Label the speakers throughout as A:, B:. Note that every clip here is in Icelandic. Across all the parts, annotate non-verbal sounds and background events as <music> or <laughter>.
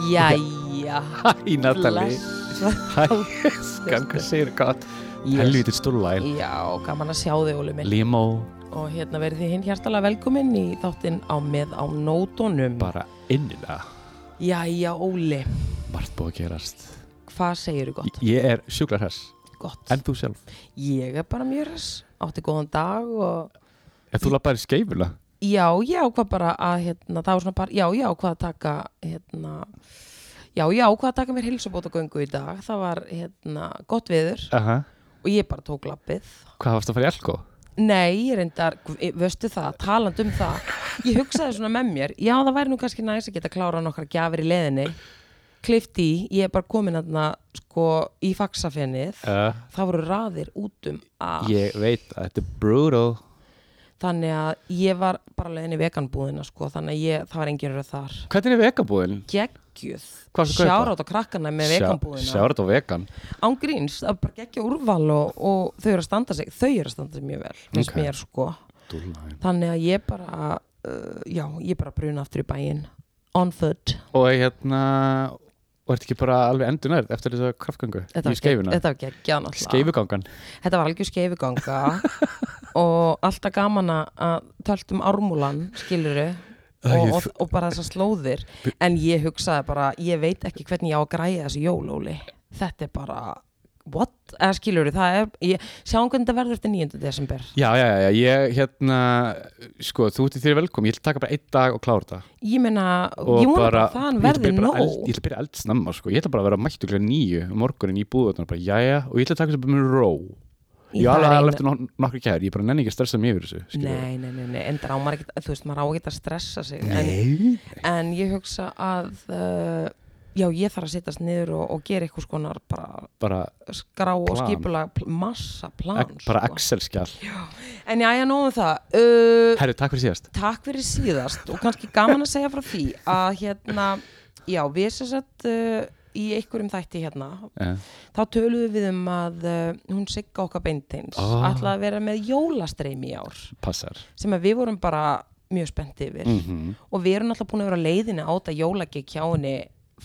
A: Jæja
B: Hæ, Natalie
A: Bless.
B: Hæ, skan, hvað segir gott
A: Yes.
B: Helvítið stúrlæl
A: Já, gaman að sjá þig Óli minn
B: Limó,
A: Og hérna verið þið hinn hjartalega velkominn í þáttinn á með á nótunum
B: bara innilega
A: Jæja Óli,
B: Margt búið að gerast
A: hvað segirðu gott?
B: Ég er sjúklar hess,
A: Gott
B: en þú sjálf
A: Ég er bara mjög res, átti góðan dag og
B: En þú lappaðir skeifuna
A: Já, já, hvað bara að hérna, það var svona bara, já, já, hvað að taka hérna, já, já, hvað að taka mér hilsubótagöngu í dag, það var hérna, gott viður
B: Aha.
A: og ég bara tók lappið
B: Hvað varst að fara í elko?
A: Nei, ég reyndar, vöstu það, taland um það Ég hugsaði svona með mér Já, það væri nú kannski næs að geta klára nokkra gjafir í leðinni Klift í, ég er bara komin aðna sko í faksafennið
B: Uh,
A: Það voru raðir út um að
B: ég veit að þetta er brutal
A: Þannig að ég var bara leðinni veganbúðina sko Þannig að ég, það var engin röð þar
B: Hvernig er vegabúðin?
A: Geggjuð
B: Hvað varstu að kaupa?
A: Sjárátt á krakkana með veganbúðina
B: Sjárat og vegan
A: ángríns, það er bara geggja úrval og, og þau eru að standa sig, þau eru að standa sig mjög vel finnst
B: Ok.
A: mér sko
B: Dúllæn.
A: þannig að ég bara uh, já, ég bara bruna aftur í bæinn on foot
B: Og hérna Og ert ekki bara alveg endunært eftir þessu kraftgöngu
A: þetta
B: Í
A: var, gegg,
B: skeifuna
A: þetta var geggja náttúrulega
B: Skeifugangan
A: þetta var algjör skeifuganga <laughs> og alltaf gaman að- að töltum ármúlan, skiluru og, og, og bara þessar slóðir en ég hugsaði bara, ég veit ekki hvernig ég á að græja þessi jólóli þetta er bara, what? eða skiluru, það er, ég, sjáum hvernig þetta verður eftir 9. desember
B: Já, já, já, já, ég hérna Sko, þú ert í þér velkom, ég ætla að taka bara einn dag og klára þetta
A: Ég meina,
B: Og
A: ég vona bara að þaðan
B: ég ætla
A: verði
B: bara
A: nóg
B: eld, Ég ætla að byrja eldsnemma, sko Ég ætla bara að vera mættu klær nýju morgunin um í búðunar bara, Jæja, og ég ætla að taka þetta bara með ró
A: Í
B: Ég
A: það
B: alveg
A: er
B: alveg
A: eina-
B: eftir nok- nokkru kæður Ég bara nenni ekki að stressa mig yfir þessu skilurðu.
A: Nei, nei, nei, nei, en drámar ekki, þú veist, maður á ekki að stressa sig en,
B: Nei
A: en ég hugsa að, uh, já, ég þarf að sittast niður og, og gera eitthvað skonar bara
B: Bara,
A: skrá og
B: Plan.
A: skipulega pl massa plan
B: ek, bara
A: sko.
B: Excel-skjál
A: En já, já, nóðum það uh,
B: Herru, takk fyrir síðast
A: Takk fyrir síðast og kannski gaman að segja frá því að hérna, já, við sér sett uh, í einhverjum þætti hérna
B: Eh,
A: þá töluðum við um að uh, hún sigga okkar beinteins
B: Ah.
A: oh. ætlaði að vera með jólastreimi í ár
B: Passar
A: sem að við vorum bara mjög spennt yfir
B: Mhm.
A: og við erum alltaf búin að vera á leiðinni á þetta jólagik hjá henni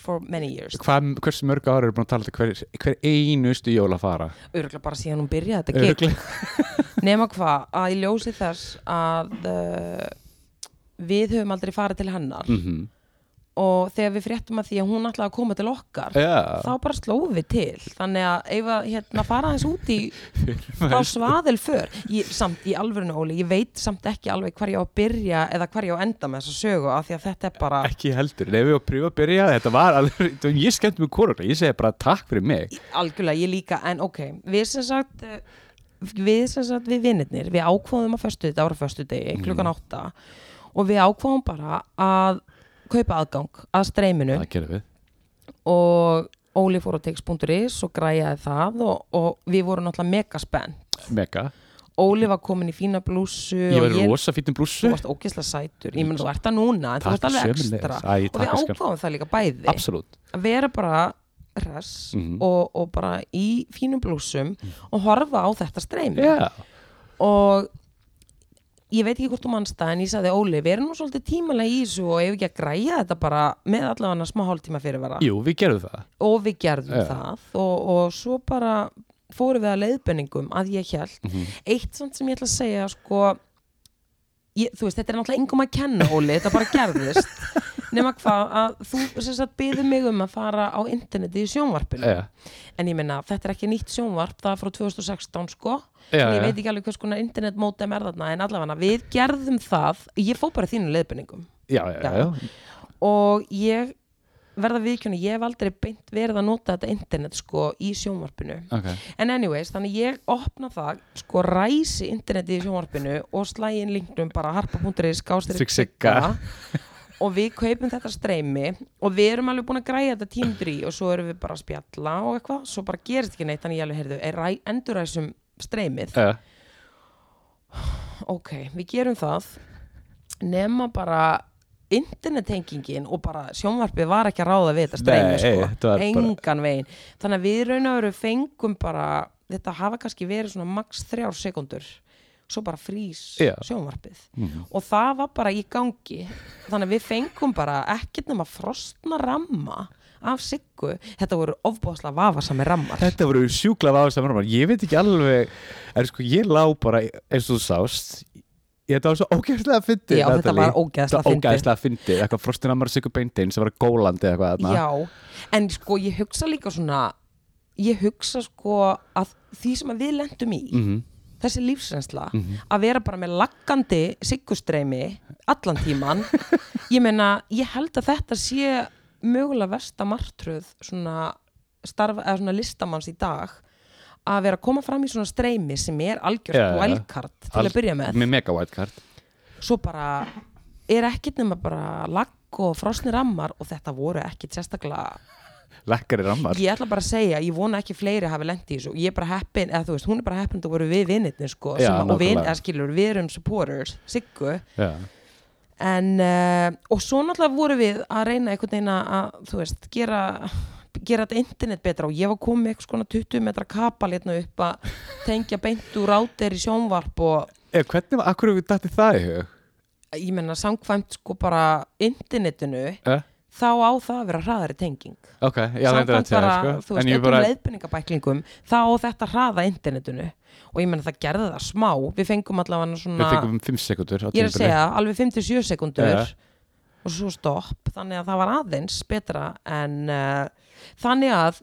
A: for many years
B: Hvað, hversu mörg ára eru búin að tala um þetta hver, hver einustu jól að fara
A: örgulega bara síðan hún byrjaði þetta gig
B: Örugglega.
A: <laughs> nema hvað að ég ljósi þess að uh, við höfum aldrei farið til hennar
B: Mhm.
A: og þegar við fréttum að því að hún ætlaði að koma til okkar
B: Já,
A: þá bara slóðum við til þannig að ef að hérna fara aðeins út
B: <laughs>
A: í þá svaðil för ég, samt í alvörinu Óli, ég veit samt ekki alveg hvar ég á að byrja eða hvar ég á að enda með þessa sögu af því að þetta er bara
B: ekki heldur Nei, við varum að pröfa að byrja Þetta var alveg, þú- ég skemmt mjög korur Ég segi bara takk fyrir mig
A: algjörlega, ég líka, en ok við sem sagt eh, við sem sagt við vinnirnir, við ákváðum að föstu þetta ára föstu degi,
B: Mhm.
A: klukkan átta og við ákváðum bara að kaupa aðgang að streyminu
B: Það gerum við
A: og Óli fór á tix.is og græjaði það og, og við vorum náttúrulega megaspenn
B: Mega
A: Óli var komin í fína blússu
B: Ég
A: og
B: var í rosa fítum blússu
A: þú varst ógeðslega sætur ég menn þú ert það núna en þú
B: Takk,
A: ert alveg
B: sömuleiðis.
A: ekstra
B: Æ,
A: og
B: takk,
A: við
B: elskan.
A: ákváðum það líka bæði
B: Absolutt
A: að vera bara res og, og bara í fínum blúsum og horfa á þetta streymi
B: Já,
A: og ég veit ekki hvort þú manst það en ég sagði Óli, við erum nú svolítið tímalega í þessu og ef ekki að græja þetta bara með allavega smá hálftíma fyrirvara
B: jú, við gerum það
A: og við gerðum
B: Já.
A: það og, og svo bara fórum við að leiðbenningum að ég held
B: Mhm.
A: eitt samt sem ég ætla að segja sko ég, þú veist, þetta er náttúrulega engum að kenna Óli, þetta bara gerðist
B: <laughs>
A: nema hvað að þú sem sagt byður mig um að fara á interneti í sjónvarpinu
B: Já,
A: en ég meina, þetta er ekki nýtt sjónvarp það er frá 2016 sko
B: Já,
A: en ég
B: já.
A: veit ekki alveg hvers konar internetmótem er þarna en allavega við gerðum það ég fó bara þínu leiðbenningum
B: já, já, já, já.
A: og ég verða viðkjörna, ég hef aldrei beint verið að nota þetta internet sko í sjónvarpinu
B: Ok.
A: en anyways, þannig ég opna það sko ræsi internetið í sjónvarpinu og slæ inn linknum bara harpa.is
B: Sigga.
A: skástrík sigga og við kaupum þetta streymi og við erum alveg búin að græja þetta tímundur í og svo erum við bara að spjalla og eitthvað svo bara gerist ekki neitt, þannig ég alveg heyrðu er ræ, enduræsum streymið
B: Já,
A: ok, við gerum það nema bara internettengingin og bara sjónvarpið var ekki að ráða við þetta streymi
B: Nei, þetta
A: sko,
B: var bara-
A: engan veginn þannig að við raun og veru fengum bara þetta hafa kannski verið svona max þrjár sekundur svo bara frýs
B: Já.
A: sjónvarpið
B: Mhm.
A: og það var bara í gangi þannig að við fengum bara ekkert nema frostna ramma af siggu, þetta voru ofbóðslega vafasami rammar
B: Þetta voru sjúkla vafasamar ramar. Ég veit ekki alveg, er sko, ég lá bara eins og þú sást, ég þetta var svo ógæðslega fyndið.
A: Já, þetta
B: Natalie.
A: var ógeðslega
B: Þetta var
A: fyndið.
B: Ógæðslega fyndið, eitthvað frostin amar Sigur Beintein sem var að gólandi eða eitthvað þarna.
A: Já, en sko ég hugsa líka svona ég hugsa sko að því sem að við lendum í
B: Mhm.
A: þessi lífsrensla að vera bara með laggandi siggustreimi allan
B: <laughs>
A: tíman ég meina, ég held að þetta sé mögulega versta martröð svona, starf, eða svona listamanns í dag að vera að koma fram í svona streymi sem er algjörst
B: Já, já, já.
A: wildcard til að byrja með
B: Með mega white card.
A: svo bara er ekkert nema bara lagg og frosni rammar og þetta voru ekkert sérstaklega
B: Lekkari ramar.
A: ég ætla bara að segja, ég vona ekki fleiri hafi lendi í þessu, ég er bara heppin, eða þú veist hún er bara heppin, þú voru við vinnirni sko
B: Já,
A: sem að- og vin,
B: nákvæmlega.
A: eða skilur, við erum supporters siggu,
B: Já.
A: en uh, og svo náttúrulega voru við að reyna einhvern veginn að, þú veist, gera gera þetta internet betra og ég var komið með eitthvað svona 20 metra kapal hérna upp að tengja beint úr átir í sjónvarp og
B: Eða Eh, hvernig, var- af hverju við dætti það í hug?
A: ég menna samkvæmt sko bara internetinu
B: Eh?
A: þá á það að vera hraðari tenging
B: Ok, já, þetta er
A: samkvæmt
B: að tjáða,
A: bara,
B: sko.
A: þú veist,
B: En ég
A: öllum
B: bara,
A: leiðbendingabæklingum þá á þetta hraða internetinu og ég menna það gerði það smá við fengum allavega svona
B: við fengum 5 sekundur.
A: ég er að segja, alveg 5-7 sekundur
B: Ja.
A: og svo stopp þannig að það var aðeins betra en uh, þannig að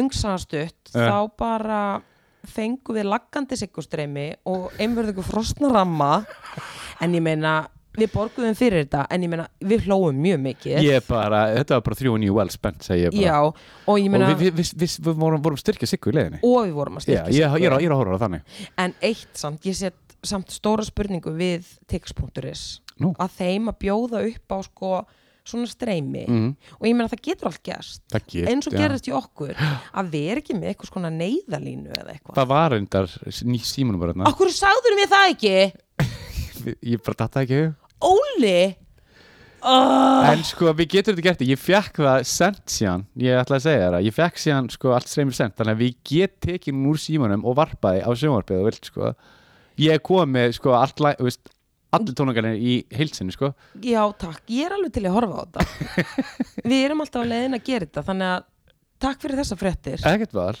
A: löngsanastutt
B: Ja.
A: þá bara fengum við laggandi siggustreymi og einverðingu frostnaramma en ég meina við borguðum fyrir þetta en ég meina við hlóum mjög mikið
B: Ég bara, þetta var bara 3 og 9 well spent, segi ég bara.
A: já og ég meina
B: og við, við, við, við, við vorum, vorum styrkja Siggu í leiðinni
A: og við vorum að
B: Já,
A: styrkja
B: ég, ég, er að-
A: Siggu.
B: ég er að horfa á það þannig
A: en eitt samt, ég set samt stóra spurningu við tix.is
B: Nú.
A: að þeim að bjóða upp á sko svona streymi og ég meina það getur allt gerst
B: Það get-
A: eins og
B: Mhm. já.
A: gerðist í okkur að vera ekki með eitthvað svona neyðalínu eða eitthvað
B: Það var reyndar ný símanum bara þarna.
A: okkur sagður mér það ekki
B: Ég bara datta ekki í hug.
A: Óli oh,
B: En sko, við getum þetta gert Ég fekk það sent síðan Ég ætla að segja þér það Ég fekk síðan sko allt streymið sent Þannig að við get tekið hún úr símanum og varpaði á sjónvarpið og vilt sko Ég kom með sko allt læ- þú veist, allir tónungarnir í heilsinni sko
A: já takk, ég er alveg til að horfa á þetta
B: <laughs>
A: við erum alltaf á leiðin að gera þetta þannig að takk fyrir þessa fréttir
B: Ekkert var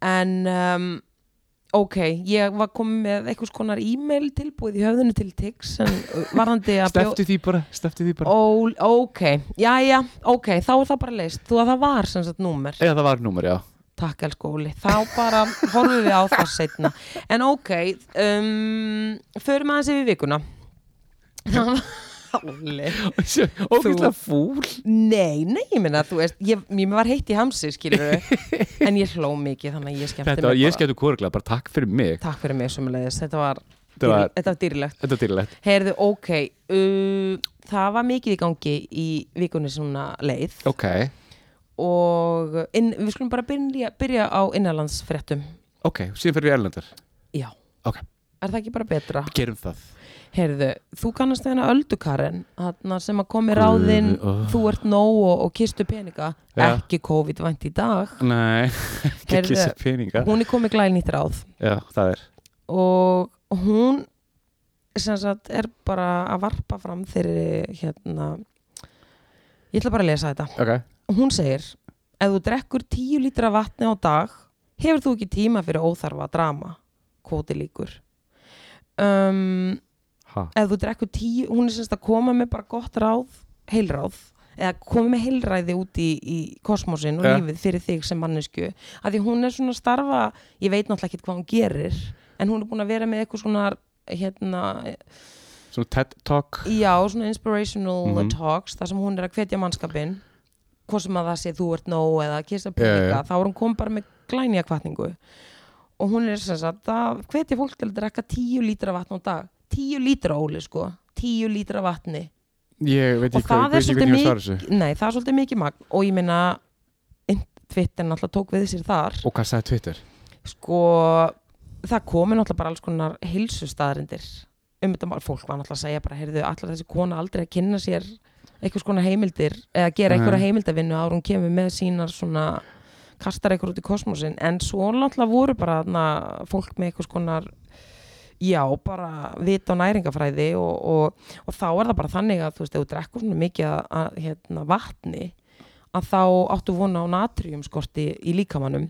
A: en um, ok, ég var komið með einhvers konar e-mail tilbúið í höfðinu til Tix
B: <laughs>
A: en varðandi að bjó-
B: Stefti því bara Stefti því bara
A: Ó, ok, jæja, ok þá er það bara leist, þú að það var sem sagt númer
B: Eða það var númer, já
A: takk elsku Óli, þá bara horfum við á það setna en ok um, förum aðeins yfir
B: <laughs>
A: vikuna Óli
B: Ógæslega fúl
A: Nei, nei, ég minna, þú veist ég, mér var heitt í hamsi,
B: <laughs>
A: skilur en ég hló mikið, þannig að ég skemmti
B: Þetta var,
A: mig
B: ég
A: bara.
B: skemmtu kóruglega, bara takk fyrir mig
A: Takk fyrir mig sumulegis, þetta var,
B: Þetta var-
A: dýr- þetta var dýrlegt
B: Þetta er dýrlegt
A: Heyrðu, ok, uh, það var mikið í gangi í vikunni svona leið
B: Ok,
A: og inn, við skulum bara byrja, byrja á innanlandsfréttum
B: ok, síðan fyrir við erlendar
A: Já,
B: Ok,
A: er það ekki bara betra?
B: gerum það
A: Heyrðu, þú kannast þeirna öldukaren þarna sem að komi ráðinn
B: Guð, ó.
A: þú ert nóg og, og kistu peninga
B: Já.
A: ekki COVID-vænt í dag
B: Nei, <laughs> ekki
A: Heyrðu.
B: kissa peninga
A: hún er komið glælnýtt ráð
B: Já, það er
A: og hún sem sagt er bara að varpa fram þeirri hérna ég ætla bara að lesa þetta
B: Ok,
A: hún segir, ef þú drekkur 10 lítra vatni á dag, hefur þú ekki tíma fyrir óþarfa drama kvóti líkur um,
B: ha
A: ef þú drekkur 10, hún er sem sagt að koma með bara gott ráð, heilráð eða koma með heilræði út í, í kosmosin og
B: Ja.
A: lífið fyrir þig sem mannesku að því hún er svona að starfa ég veit náttúrulega ekkert hvað hún gerir en hún er búin að vera með eitthvað svona hérna,
B: Svona TED Talk
A: Já, svona inspirational
B: Mhm.
A: talks þar sem hún er að hvetja mannskapin hvort sem að það sé þú ert nóg eða kissa peninga,
B: Já, já.
A: þá er hún kom bara með glænja kvartningu og hún er sem sagt að hvetja fólk til að drekka tíu lítra vatn á dag tíu lítra óli sko, tíu lítra vatni
B: Ég veit
A: og
B: ekki hvað,
A: það er
B: ég veit ekki
A: svolítið
B: hvernig ég á að svara þessu
A: mikið nei, það er svolítið mikið magn og ég minna Twitter náttúrulega tók við sér þar
B: Og hvað sagði Twitter?
A: sko það komi náttúrulega bara alls konar heilsustaðarindir um þetta mál, fólk var náttúrulega að segja bara, heyrðu, allar þessi kona aldrei að kynna sér einhvers konar heimildir eða gera
B: Nei.
A: einhverja heimildavinnu ára hún kemur með sínar svona kastar einhver út í kosmosin en svo náttúrulega voru bara na, fólk með einhvers konar já, bara vit og næringafræði og, og, og þá er það bara þannig að þú veist, ef þú drekkur svona mikið að, að, hérna, vatni að þá áttu vona á natriumskorti í líkamannum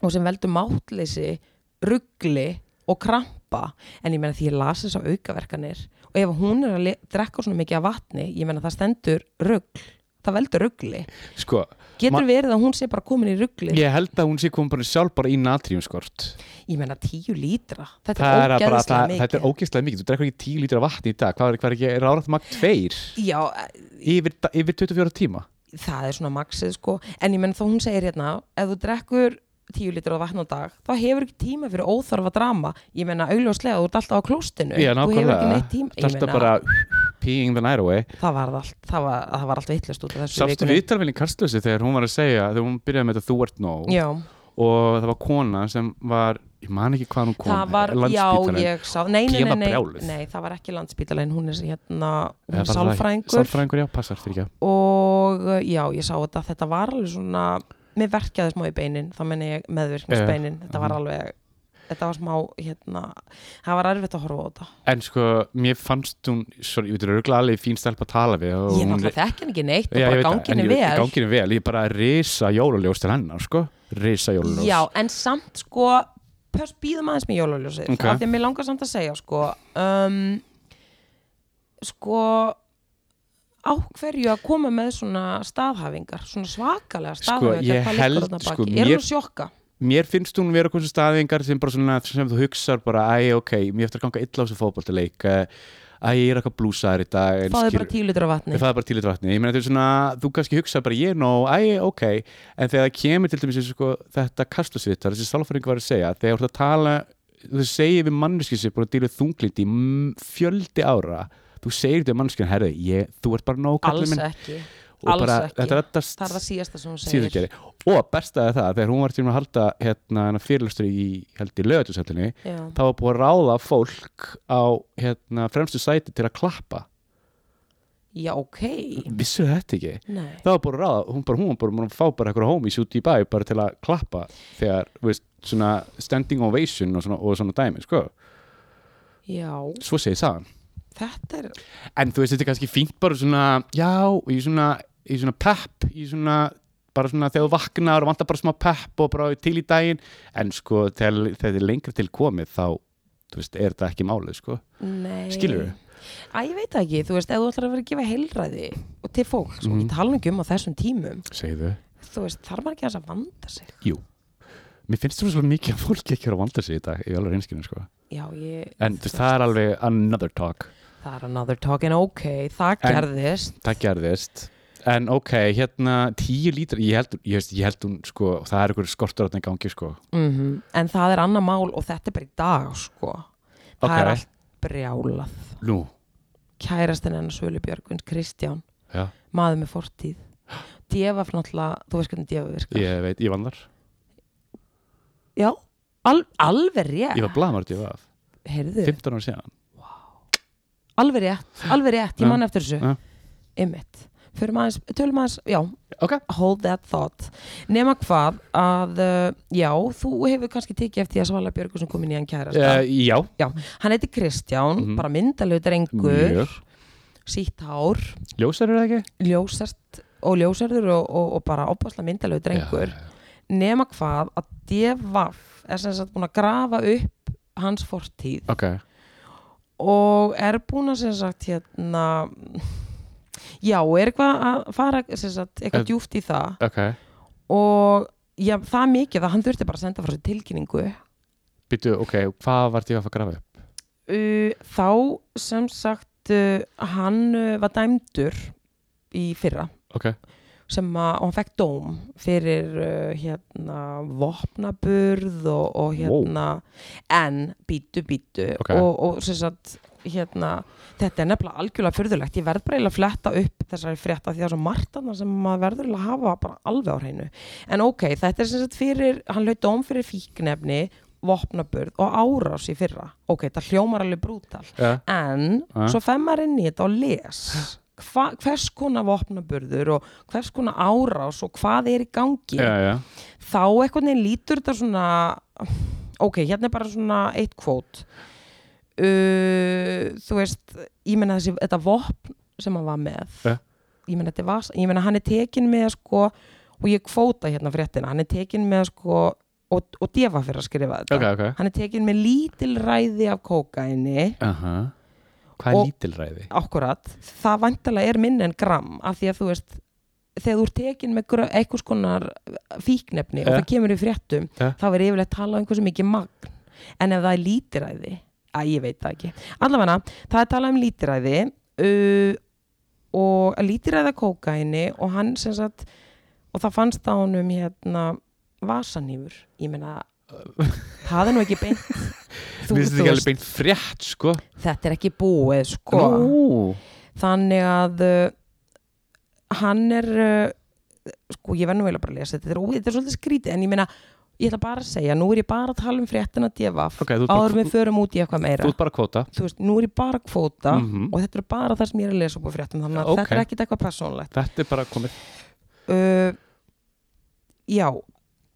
A: og sem veldur mátleysi, ruggli og krampa, en ég meina því ég las þessar aukaverkanir og ef hún er að le- drekka svona mikið af vatni, ég meina það stendur ruggl, það veldur ruggli
B: sko,
A: getur
B: Ma-
A: verið að hún sé bara komin í ruggli
B: ég held að hún sé komin bara sjálf bara í natriumskort
A: ég meina tíu lítra þetta
B: það
A: er
B: er að bara,
A: ógeðslega
B: það,
A: mikið
B: þetta er ógeðslega mikið þú drekkur ekki 10 lítra vatn í dag hvað er, hvað er ekki, er árætt magt tveir
A: Já, eh,
B: yfir, yfir 24 tíma
A: það er svona maxið sko en ég menn þá hún segir hérna ef þú drekkur 10 lítur af vatn á dag þá hefur ekki tíma fyrir óþarfa drama ég menna augljóslega, þú ert alltaf á klóstinu
B: Já,
A: þú hefur ekki
B: nákvæmlega.
A: neitt tíma
B: það
A: Ég
B: er alltaf
A: meina,
B: bara peeing the night away
A: það var allt, það var, það var allt vittlust út af þessu í
B: sástu
A: vikunni.
B: viðtalvelin Karslösi þegar hún var að segja þegar hún byrjaði með þetta þú ert nóg
A: Já,
B: og það var kona sem var ég man ekki hvað hún kona
A: það var, já,
B: Landspítalinn.
A: ég sá nei, nei,
B: Gema
A: nei, nei,
B: brjáluð.
A: nei, það var ekki landspítalinn hún er hérna, hún
B: Eða
A: er
B: var það ekki?
A: sálfræðingur
B: sálfræðingur, já, passar fyrir ekki
A: og uh, já, ég sá þetta þetta var alveg svona, mér verkjaði smá í beinin þá menn ég meðvirkningsbeinin þetta var
B: mhm.
A: alveg, þetta var smá hérna, það var erfitt að horfa á þetta
B: en sko, mér fannst hún svo, ég veit, röglega alveg fín stelp að tala við og
A: ég
B: hún-
A: náttúrulega þekki hann ekki neitt
B: Já,
A: og bara
B: ég veit það, en
A: ganginni
B: ég veit-
A: vel
B: ganginni vel, ég er bara að risa jóluljós til hennar, sko risa jóluljós
A: já, en samt sko pörs býðum aðeins með jólaljósið
B: Ok.
A: okay. af því að mér langar samt að segja sko um, sko á hverju að koma með svona staðhæfingar svona svakalega
B: Sko,
A: staðhæfingar
B: ég
A: hvað liggur
B: held,
A: þarna að
B: sko,
A: baki?
B: mér-
A: eru þú að sjokka?
B: mér finnst hún vera hversu staðingar sem bara svona sem þú hugsar bara, æ, ok, mér eftir að ganga illa á þessu fótboltaleik eh, æ, ég er eitthvað blúsaður í dag en
A: fáðu
B: skil-
A: bara tíu litur af vatni
B: Það er bara til í vatni, ég meina þetta er svona þú kannski hugsa bara ég er nóg, æ, ok en þegar það kemur til dæmis eins og sko, þetta kastusvittar, þessi sálfæringu var að segja þegar þú ert að tala, þú segir við manneskið sem er búin að dýla þunglindi í m- fjöldi ára, þú segir þetta manneskið, herði, ég, þú ert bara nóg
A: alls
B: kallinn minn."
A: ekki
B: Og
A: alls
B: bara,
A: ekki.
B: þetta er þetta
A: það er það síðasta sem hún segir
B: síðan gerir og bestaði það, þegar hún var til að halda hérna fyrirlustur í, held í lögatusöllinni
A: Já.
B: þá var búið að ráða fólk á hérna, fremstu sæti til að klappa
A: já, ok
B: vissur þetta ekki?
A: Nei.
B: það var bara að ráða, hún bara, hún bara, hún fá bara eitthvað homies út í bæ bara til að klappa þegar, þú veist, svona standing ovation og svona, og svona dæmi, sko
A: já,
B: svo segið sagan,
A: þetta er
B: en þú veist, þetta er kannski fínt bara svona, já, í svona í svona pep, í svona bara svona þegar þú vaknar og vantar bara smá pep og bara til í daginn, en sko þegar þegar þetta er lengra til komið þá þú veist, er þetta ekki málið, sko
A: Nei.
B: Skilurðu?
A: Æ, ég veit það ekki, þú veist, ef þú ætlar að vera að gefa heilræði og til fólks, mm.
B: Mhm.
A: og ég tala nú ekki um á þessum tímum
B: segðu,
A: þú veist, þarf maður ekki aðeins að vanda sig
B: jú mér finnst þú svo mikið að fólki ekki er að vanda sig í dag, ég er alveg reynskinu, sko
A: Já, ég,
B: en þú veist, það er alveg another talk
A: það er another talk, en ok, það
B: En-
A: gerðist
B: Það gerðist En ok, hérna tíu lítra Ég held, ég veist, ég held hún sko Það er einhver skortur að í gangi sko
A: Mhm. en það er annað mál og þetta er bara í dag, sko það
B: Ok.
A: er allt brjálað
B: Nú,
A: kærastinn hennar Sölu Björgvins, Kristján
B: já,
A: maður með fortíð Djöfaf náttúrulega, þú veist hvernig djöfaf virkar
B: ég veit, ég vann þar
A: Já, al, alveg
B: Ég var
A: rétt
B: blamart í það,
A: Heyrðu,
B: 15 ára síðan
A: alveg rétt, alveg rétt, ég
B: Ja,
A: man eftir þessu
B: ja.
A: Ymmit, fyrir maður, tölum aðeins Já,
B: Ok,
A: hold that thought Nema hvað að uh, Já, þú hefur kannski tekið eftir því að Svala Björgur sem kom inn í hann kærasta
B: uh, já,
A: Já, hann heiti Kristján,
B: Mhm.
A: bara myndalegu drengur
B: mjög
A: Sítt hár,
B: Ljósar eru það ekki?
A: ljósast og ljósarður og, og, og bara opaslega myndalegu drengur
B: já, já.
A: nema hvað að devaf er sem sagt búin að grafa upp hans fortíð
B: Ok,
A: og er búin að sem sagt hérna já, er eitthvað að fara sem sagt
B: Eh.
A: eitthvað djúft í það
B: ok
A: og já, það er mikið að hann þurfti bara að senda frá sér tilkynningu
B: Býtu, ok, hvað var því að fara að grafa upp?
A: Uh, þá sem sagt uh, hann uh, var dæmdur í fyrra
B: Ok,
A: sem að, og hann fekk dóm fyrir uh, hérna vopnaburð og, og hérna en bítu bítu
B: Ok.
A: og, og sem sagt hérna, þetta er nefnilega algjörlega fyrðulegt ég verð bara eiginlega að fletta upp þessari frétta því það er svo margt annað sem maður verður eiginlega að hafa bara alveg á hreinu en ok, þetta er sem sagt fyrir, hann laut dóm fyrir fíknefni, vopnaburð og árás í fyrra, ok, þetta hljómar alveg brútal
B: já,
A: en
B: Ja.
A: svo fer maður inn í þetta og les Hva, hvers konar vopnaburður og hvers konar árás og hvað er í gangi
B: já, já.
A: þá eitthvað neginn lítur þetta svona ok, hérna er bara svona eitt kvót uh, þú veist, ég meina þessi þetta vopn sem hann var með
B: Ja.
A: ég meina þetta var, ég meina hann er tekin með sko, og ég kvóta hérna fréttina, hann er tekin með sko og, og defa fyrir að skrifa þetta
B: ok, ok
A: hann er tekin með lítil ræði af kókaini
B: uh hvað er
A: Og-
B: lítilræði?
A: akkurat, það vantalega er minn en gram af því að þú veist þegar þú ert tekin með grö- einhvers konar fíknefni og
B: Ja.
A: það kemur í fréttum
B: Ja.
A: þá er yfirleitt talað um hversu mikið magn en ef það er lítiræði að ég veit það ekki, allavega það er talað um lítiræði uh, og lítiræða kókaini og hann sem sagt og það fannst á honum hérna vasanýfur, ég meina
B: <laughs>
A: það er nú ekki beint
B: Mér finnst þetta ekki alveg beint frétt sko
A: þetta er ekki búið sko
B: Nú.
A: þannig að uh, hann er uh, sko ég verð nú eiginlega bara að lesa þetta þetta er, ó, þetta er svolítið skrítið en ég meina ég ætla bara að segja, nú er ég bara að tala um fréttina divaf,
B: Ok, þú ert bara-
A: áður við förum út í eitthvað meira
B: þú ert bara að kvota
A: þú veist, nú er ég bara að kvóta
B: Mhm.
A: og þetta er bara það sem ég er að lesa upp á fréttum þannig að
B: Ok.
A: þetta er ekkit eitthvað persónlegt
B: þetta er bara komið
A: uh, já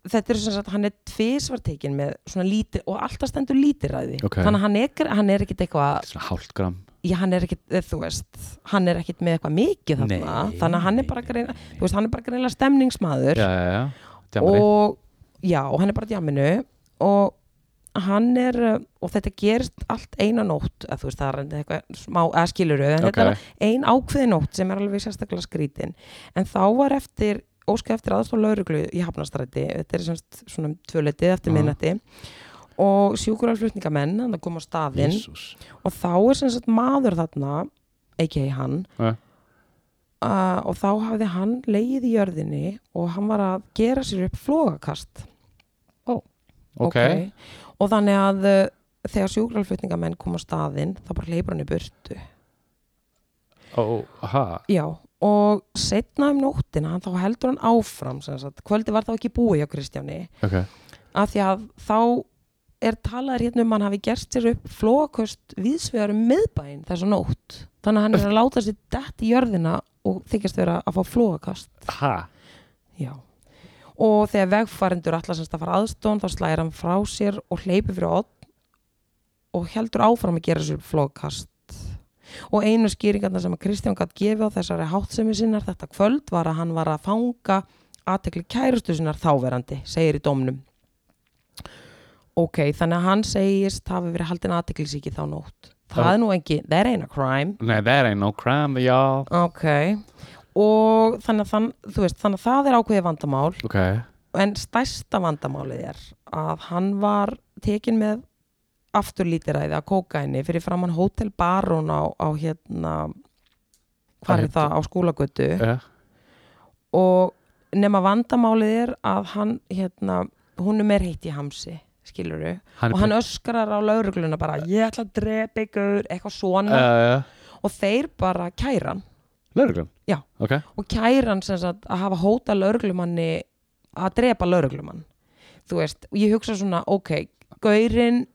A: þetta er sem sagt, hann er tvisvar tekin með svona lítið, og alltaf stendur lítiræði
B: Ok.
A: þannig að hann er, hann er ekkit eitthvað
B: Þetta er svona hálft gram
A: já, hann er ekkit, eh, þú veist hann er ekkit með eitthvað mikið þarna
B: Nei,
A: þannig að hann er bara
B: nei,
A: greina, þú veist, hann er bara greina stemningsmaður
B: já, já, já. Djamari.
A: og já, og hann er bara djáminu og hann er eh, og þetta gerist allt eina nótt að þú veist, það er reyndar eitthvað smá eða skiluru, en
B: Ok.
A: þetta er ein ákveði nótt sem er alveg sérstaklega skrítin en þá var eftir, óska eftir aðstof lauruglu í Hafnastræti, þetta er semst svona um tvöleitið eftir
B: Mhm.
A: minnati og sjúkuralflutningamenn, hann kom á staðinn
B: Jesús.
A: og þá er sem sagt maður þarna a.k.a. hann
B: Ja.
A: uh, og þá hafði hann leið í jörðinni og hann var að gera sér upp flogakast
B: ok,
A: og þannig að uh, þegar sjúkralflutningamenn kom á staðinn þá bara leipur hann í burtu
B: Ó, aha.
A: já og setna um nóttina hann þá heldur hann áfram sem sagt, kvöldi var þá ekki búið hjá Kristjáni
B: ok
A: af því að þá er talaður hérna um að hann hafi gert sér upp flókust viðsvegar um miðbæinn þessa nótt þannig að hann er að láta sér dætt í jörðina og þykjast vera að fá flókast
B: ha,
A: já og þegar vegfærendur allar semst að fara aðstón þá slæðir hann frá sér og hleypir fyrir odd og heldur áfram að gera sér upp flókast og einu skýringarna sem að Kristján gatt gefið á þessari háttsemi sinnar þetta kvöld var að hann var að fanga aðtekli kærustu sinnar þáverandi segir í dómnum ok, þannig að hann segist hafi verið haldin aðteklisíki þá nótt það
B: Það-
A: er nú ekki, það er eina crime
B: nei, that ain't no crime y'all
A: ok, og þannig að, þann, þú veist, þannig að það er ákveðið vandamál
B: ok, Eh.
A: en stærsta vandamálið er að hann var tekin með afturlítiræði að kókaini fyrir framann Hotel Baron á, á hérna
B: Hvað
A: hvað er
B: heitir-
A: það á skólagötu
B: uh,
A: og nema vandamálið er að hann hérna, hún er meir heitt í hamsi skiluru,
B: hann
A: og hann öskrar á laurugluna bara, ég ætla að drepa ykkur eitthvað svona,
B: uh,
A: og þeir bara kæran
B: lögreglum
A: Já.
B: ok,
A: og kæran sem sagt að hafa hóta lauruglumanni að drepa lauruglumann þú veist, og ég hugsa svona ok, gaurinn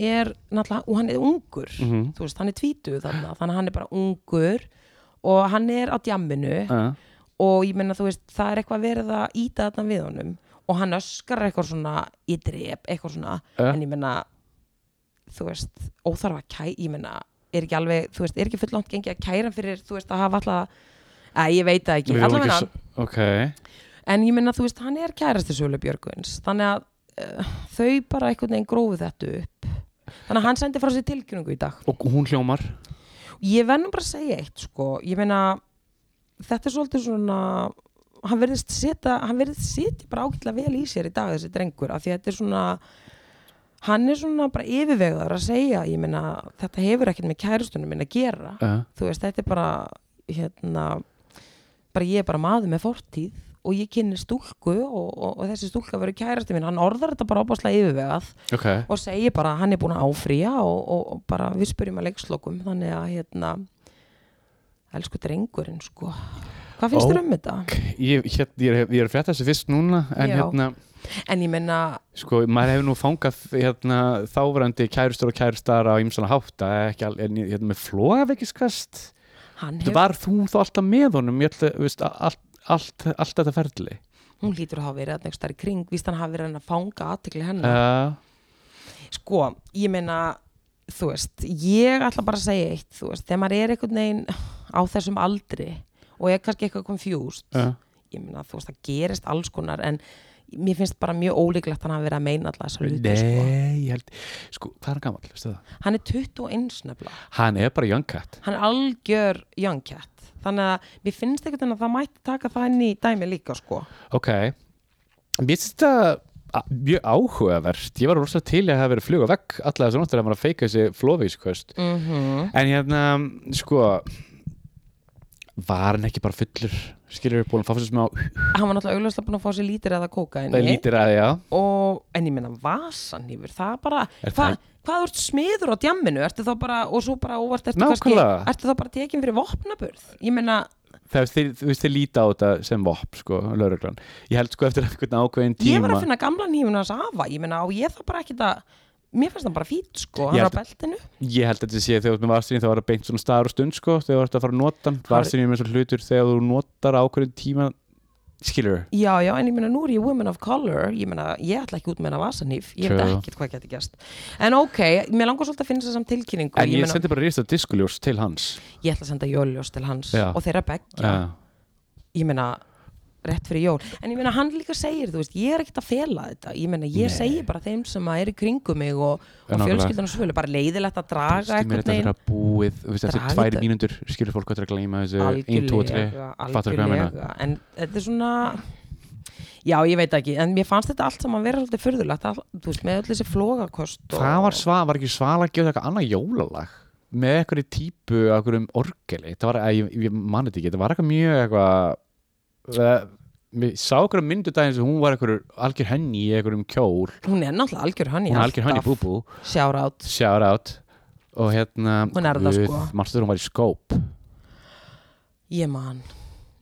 A: er náttúrulega, og hann er ungur
B: Mhm.
A: þú veist, hann er tvítuð þarna, þannig að hann er bara ungur og hann er á djamminu
B: uh,
A: og ég meina, þú veist, það er eitthvað verið að íta þarna við honum og hann öskar eitthvað svona, ég drep eitthvað svona,
B: Ja.
A: en ég meina þú veist, óþarfa að kæ ég meina, er ekki alveg, þú veist, er ekki fullangt gengið að kæra hann fyrir, þú veist, að hafa alltaf að ég veit það ekki,
B: Við vorum
A: allavega
B: ekki
A: hann
B: ok,
A: en ég meina, þú veist, hann er kærasti Sölu Björgvins, þannig að uh, þau bara einhvern veginn grófu þetta upp þannig að hann sendi frá sér tilkynningu í dag
B: og hún hljómar
A: ég verð nú bara að segja eitt, sko ég meina, þetta er svolítið svona hann verðist setja hann verðist setja bara ágætlega vel í sér í dag þessi drengur, af því þetta er svona hann er svona bara yfirvegðar að segja, ég meina, þetta hefur ekkert með kærastunum minn að gera
B: uh,
A: þú veist, þetta er bara hérna, bara ég er bara maður með fortíð og ég kynni stúlku og, og, og þessi stúlka verið kærasti minn, hann orðar þetta bara opaslega yfirvegað
B: ok,
A: og segir bara að hann er búin að áfrýja og, og, og bara við spyrjum að leikslokum þannig að hérna elsku drengurinn sko hvað finnst
B: Ó.
A: þér um þetta?
B: ég, hér, ég, er, ég er að frétta þessu fyrst núna en
A: Já.
B: hérna,
A: En ég menna,
B: sko, maður hefur nú fangað hérna, þáverandi kærustur og kærustar á ymsana hátta, ekki al, en, hérna, með flóavekiskast
A: hann
B: Hef...
A: hefur
B: Var þú þá alltaf með honum ég ætla, veist, allt, allt, allt þetta ferli
A: hún hlýtur að hafa verið að nekstari Mm. kring, víst hann hafa verið að reyna að fanga aðtekli hennar
B: uh,
A: sko, ég meina þú veist, ég ætla bara að segja eitt þú veist, þegar maður er einhvern veginn á þessum aldri og er kannski eitthvað confused
B: uh,
A: ég meina, þú veist, það gerist alls konar en mér finnst bara mjög ólíklegt að hann hafi verið að meina alltaf þessa hluti, sko.
B: Nei, ég held Sko, hvað er hann gammal, veistu það?
A: Hann er 21 nefnilega,
B: Hann er bara young cat
A: hann er algjör young cat, þannig að mér finnst einhvern veginn að það mætti taka það inn í dæmi líka, sko.
B: Ok Mér finnst þetta a- mjög áhugavert Ég var rosa til í að hafa verið að fluga vekk alla þessu nóttur að maður að feika þessi flóvískvöst
A: Mm
B: En hérna, sko Var hann ekki bara fullur Skilur við búin að fá fyrir smá
A: Hann var náttúrulega augljóslega búin að fá sér lítir eða kókaini
B: Það er lítir að, já
A: og, en ég meina vasan yfir, það er bara
B: Er
A: hva,
B: það-
A: hvað þú ert smiður á djamminu ertu þá bara, og svo bara óvart ertu,
B: Nákvæmlega.
A: ertu þá bara tekin fyrir vopnaburð ég meina,
B: Það er þeir, þú veist, þeir líta á þetta sem vopn, sko, lauruglan Ég held sko eftir einhvern ákveðin tíma
A: ég var að finna gamla nýfuna hans afa, ég meina, og ég þá bara ekki það mér finnst það bara fít, sko,
B: Ég
A: hann er á
B: held-
A: beltinu
B: Ég held að þetta sé þegar þú ert með varstinni þá var það beint svona staðar og stund sko þegar þú ert að fara að nota hann varstinni er með svona hlutur þegar þú notar ákveðin tíma skilur
A: já, já, en ég meina, nú er ég woman of color ég meina, ég ætla ekki út meina vasanýf ég veit
B: True.
A: ekkert hvað geti gerst en ok, mér langar svolítið að finna þessam tilkynningu
B: en ég,
A: meina,
B: sendi bara rýst að diskuljós til hans Ah,
A: ég ætla að senda jóljós til hans
B: Já.
A: og þeirra beggja
B: Já,
A: ég meina rétt fyrir jól, en ég meina hann líka segir þú veist, ég er ekkert að fela þetta ég meina ég
B: Nei.
A: segi bara þeim sem að er í kringum mig og, og
B: Nákvæmlega.
A: fjölskyldan og svölu bara leiðilegt að draga eitthvað
B: Stímir þetta
A: neginn
B: þegar búið þú veist, eftir
A: Draga
B: tvær
A: þetta.
B: mínútur skilur fólk hvað er að gleyma þessu 1, 2, 3 Fattar hvað ég meina?
A: algjörlega en þetta er svona já ég veit ekki, en mér fannst þetta allt saman vera svolítið furðulegt, all, þú veist, með öll þessi flogakost og
B: Það var svað, var ekki svala að gefa þetta eitthvað annað jólalag með eitthvað típu af eitthvað um orgeli það var, ég, ég mani þetta ekki, það var eitthvað mjög eitthvað eh, ég sá eitthvað myndu daginn sem hún var eitthvað algjör henni í eitthvað um kjól
A: hún er náttúrulega algjör hann í
B: hún er algjör henni búbú,
A: shout out
B: shout out og hérna,
A: Hún er það, sko.
B: manstu hún var í skóp
A: ég man,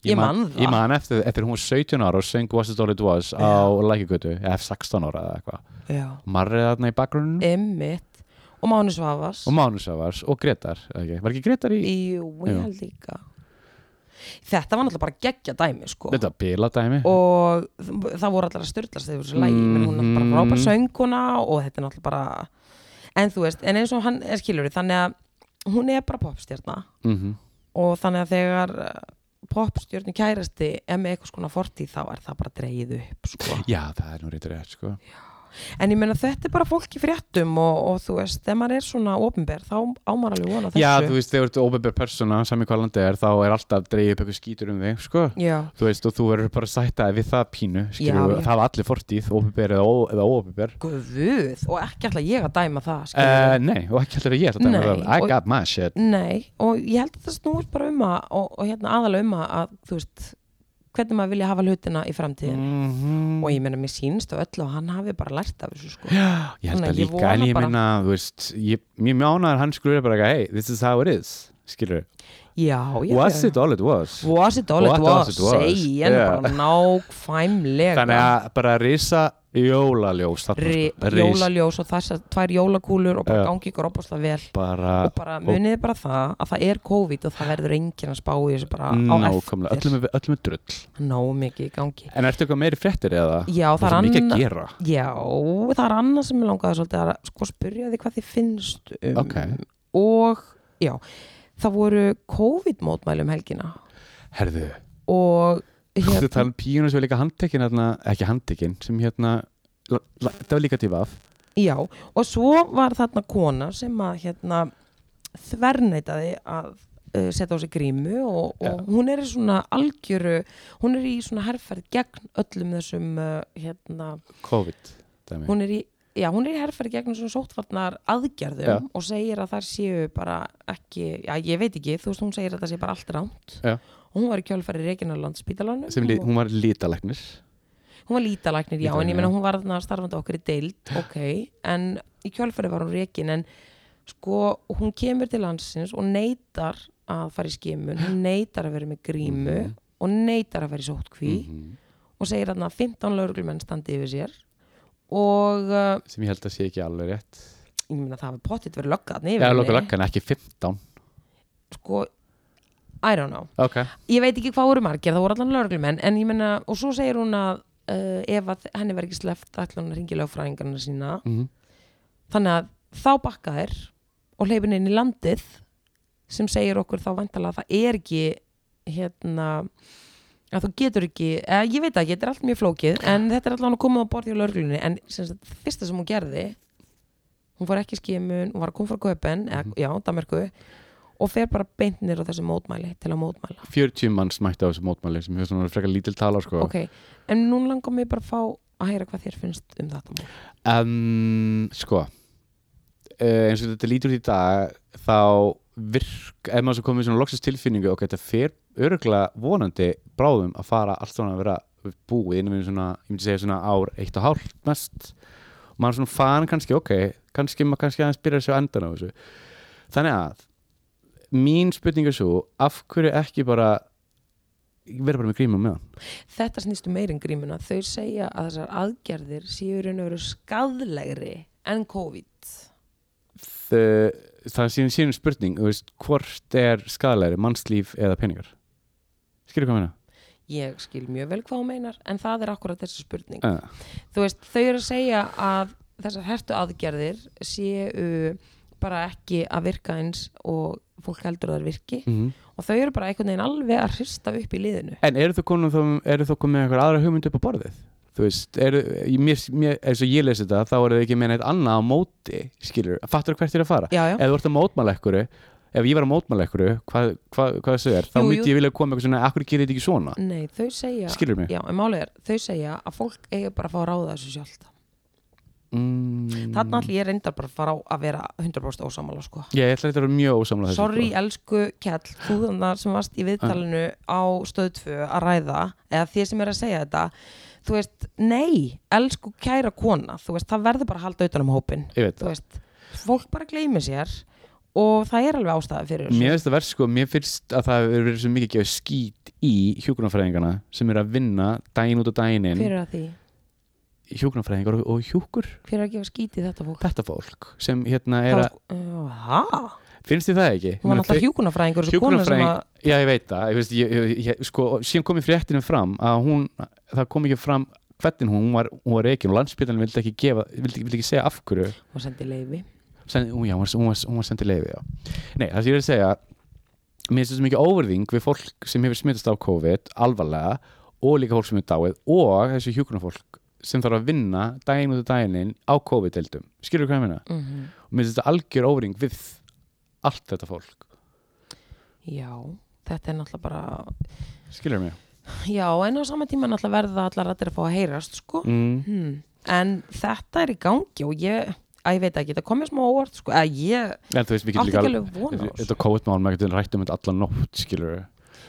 A: Ég man það.
B: ég man eftir, eftir hún var 17 ára og söng Was It All It Was á lækigötu eða 16 ára eða eitthvað
A: já,
B: marrið þarna í bakgrunum
A: emmitt og Máni Svavas
B: og Mánusavars og Gretar okay. var ekki Gretar í,
A: Jú, ég
B: Jú.
A: held líka Þetta var náttúrulega bara geggja dæmi sko.
B: þetta bila dæmi
A: og þ- það voru allar að styrlast þegar þessu lægi, menn hún er bara
B: Mhm.
A: frábær sönguna og þetta er náttúrulega bara en þú veist, en eins og hann er skilur þannig að hún er bara popstjörna
B: mm
A: og þannig að þegar uh, popstjörnu kærasti er með eitthvað skona fortíð þá er það bara dreigið upp
B: <laughs>
A: sko.
B: Já, það er nú reytur rétt, sko.
A: en ég meina þetta er bara fólk í fréttum og, og þú veist, ef maður er svona ofinber þá ámar alveg vona þessu
B: Já, þú veist, þegar þú ert óbebjör persóna, sami hvað landið er, þá er alltaf dreigið upp eitthvað skítur um þig, sko.
A: Já.
B: Þú veist, og þú verður bara að sætta þig við það pínu, skilur
A: Já,
B: við,
A: já.
B: það var allir fortíð, óbebjör eða, ó- eða óbebjör.
A: guð og ekki alltaf ég að dæma það skilurðu.
B: Uh, nei, og ekki allir að ég er þetta
A: Nei,
B: með það. I
A: og-
B: got my shit.
A: Nei, og ég held að það snúist bara um að og, og hérna aðalega um að, að þú veist, hvernig maður vilja hafa hlutina í framtíðin
B: Mhm.
A: og ég meina, mér sýnst á öllu og hann hafi bara lært af þessu sko
B: <gasps> Ég held
A: Nei,
B: að
A: ég
B: líka,
A: vona
B: en ég
A: bara-
B: minna, þú veist, ég, ég mjánaður hann skrúið bara eitthvað, hey, this is how it is, skilur við.
A: Já, já
B: Was
A: já.
B: it all it was?
A: Was it all
B: What
A: it
B: was
A: was,
B: it was?
A: segi henn
B: Yeah.
A: bara nákvæmlega
B: Þannig að bara risa jólaljós, þarna,
A: Ri-
B: sko. Ris-
A: jólaljós og þessar tvær jólakúlur og bara
B: Já.
A: gangi ykkur opaslega vel
B: bara
A: og bara munið bara það að það er COVID og það verður enginn að spá í þessu bara á
B: Nákvæmlega,
A: eftir
B: öllum, er- öllum er drull
A: Ná mikið í gangi
B: En ertu eitthvað meiri fréttir eða?
A: Já, það
B: það
A: er
B: er mikið
A: annað
B: að gera
A: Já, það er annað sem ég langaði svolítið að sko spyrja því hvað þið finnst um
B: Ok.
A: og já, það voru COVID-mótmæli um helgina
B: Herðu,
A: Hérna- og
B: þetta
A: hérna,
B: er talað um píunum sem er líka handtekinn hérna, ekki handtekinn, sem hérna la- la- þetta var líka til vaf
A: já, og svo var þarna kona sem að hérna þvernætaði að uh, setja á sig grímu og,
B: Já.
A: og hún er í svona algjöru, hún er í svona herrferð gegn öllum þessum uh, hérna,
B: COVID dæmi.
A: hún er í Já, hún er í herfæri gegnum svona sóttvarnar aðgerðum
B: Já.
A: og segir að þær séu bara ekki, já ég veit ekki, þú veist hún segir að það sé bara allt ránt
B: Já.
A: og hún var í kjálfæri Reykjavík spítalanum
B: sem lí,
A: og
B: hún var lítalæknir
A: hún var lítalæknir, já, en
B: Lítalæknir,
A: ég meina
B: já.
A: hún var þarna starfandi okkur í deild, ok en í kjálfæri var hún Reykjavík en sko, hún kemur til landsins og neytar að fara í skimun hún neytar að vera með grímu og neytar að vera í sóttkví
B: Mhm.
A: og segir þarna að 15 lauruglumenn standi yfir sér og uh,
B: sem ég held að sé ekki alveg rétt
A: ég meina það hafi pottitt verið löggað
B: Já, loka löggan, ekki 15
A: sko, I don't know
B: Ok,
A: ég veit ekki hvað voru margir, það voru allan lögreglumenn en ég meina, og svo segir hún að uh, ef að henni var ekki sleppt ætla hún að ringi lögfræðingarna sína
B: Mhm.
A: þannig að þá bakka þær og hleypin inn í landið sem segir okkur þá vantalega að það er ekki hérna að þú getur ekki, eða, ég veit ekki, þetta er allt mjög flókið en þetta er allan að koma á borð hjá lörglunni en sem sagt, það fyrsta sem hún gerði hún var ekki í skimun, hún var að koma frá Köpen eða, já, Danmarku og fer bara beint nýr á þessi mótmæli til að mótmæla
B: 40 manns mætti á þessu mótmæli sem hefur svona frekar lítil tala sko.
A: ok, en nú langar mér bara að fá að heyra hvað þér finnst um þetta mál
B: um, sko uh, eins og þetta lítur út í dag þá virk ef maður svo komið svona loksist tilfinningu ok, þetta fer öruglega vonandi bráðum að fara allt svona að vera búið innum við svona, ég myndi segja svona ár eitt og hálft mest og maður svona fann kannski, ok, kannski maður kannski aðeins byrja að sjá endan á þessu þannig að mín spurning er svo, af hverju ekki bara vera bara með gríma með hann
A: þetta snýstu meirin grímuna þau segja að þessar aðgerðir séu í raun og veru skadlegri en COVID
B: það, það er síðan síðan spurning þú veist, hvort er skadalegri mannslíf eða peningar skilur hvað meina?
A: ég skil mjög vel hvað hún meinar en það er akkurat þessi spurning
B: Uh,
A: þú veist, þau eru að segja að þessar hertu aðgerðir séu bara ekki að virka eins og fólk heldur að það virki
B: mm.
A: og þau eru bara einhvern veginn alveg að hrista upp í liðinu
B: En eru þú komin, þá- eru þú komin með eitthvað aðra hugmynd upp á borðið? Þú veist, eru, ég- mér, mér, eins og ég lesi þetta, þá eru þau ekki með neitt annað á móti, skilur, fattur hvert þér að fara?
A: já, já,
B: Ef þú ert að mótmála ekkuru, ef ég var að mótmála ekkuru, hvað, hvað, hvað þessu er, þá
A: Jú,
B: myndi
A: jú.
B: ég vilja koma með eitthvað svona, akkur gerir þetta ekki svona?
A: nei, þau segja
B: Skilur mig?
A: já, en málið er, þau segja að fólk eigi bara að fá að ráða þessu sjálft
B: Mm.
A: þarna allir ég reyndar bara að fara á að vera 100% ósamála sko
B: Ég ætla að þetta eru mjög ósamlega þessu. sko.
A: Sorry, elsku Kjell, þú þannig sem varst í viðtalinu á stöð 2 að ræða, eða þið sem er að segja þetta, þú veist, nei, elsku kæra kona, þú veist, það verður bara að halda utan um hópin,
B: Ég veit
A: þú
B: það.
A: veist, fólk bara gleymi sér og það er alveg ástæði fyrir þessu.
B: Mér finnst það verð sko, mér finnst að það hefur verið svo mikið gefið skít í hjúkurnafræðingana sem eru að vinna daginn út og daginn
A: Hver
B: inn,
A: er að því?
B: hjúkurnafræðingar og, og hjúkur.
A: Hver er að gefa skítið þetta fólk?
B: þetta fólk sem hérna
A: Það
B: er
A: var
B: að,
A: sko, já, hæ?
B: finnst þið það ekki?
A: Hún var náttúrulega hjúkunafræðingur, þessu kona sem að,
B: já ég veit það ég veist, ég, ég, ég, sko, og síðan kom í fréttinu fram að hún, það kom ekki fram hvernig hún var, hún var reikin og landsbytarnir vildi ekki gefa, vildi, vildi ekki segja af hverju
A: hún sendi leifi.
B: Sen, ú, já, hún var, hún var, hún var sendið leiði já. nei, það sem ég er að segja mér finnst þessu mikið óverðing við fólk sem hefur smittast á COVID alvarlega og líka fólk sem er dáið og þessu hjúkunarfólk sem þarf að vinna daginn út af daginn á COVID-eldum skilur hvað ég meina?
A: Mm
B: og mér finnst þetta algjör óvering við allt þetta fólk
A: Já, þetta er náttúrulega bara
B: skilur mig
A: Já, en á sama tíma náttúrulega verða allar rættir að fá að heyrast, sko.
B: mm.
A: Hmm. En þetta er í gangi og ég, að ég veit ekki, þetta komið smá óvart, sko. Að ég
B: en þú veist við
A: átti
B: getum
A: ekki
B: líka
A: alveg von á þessu.
B: þetta COVID-mál maður getur rætt um þetta allan nótt skilur við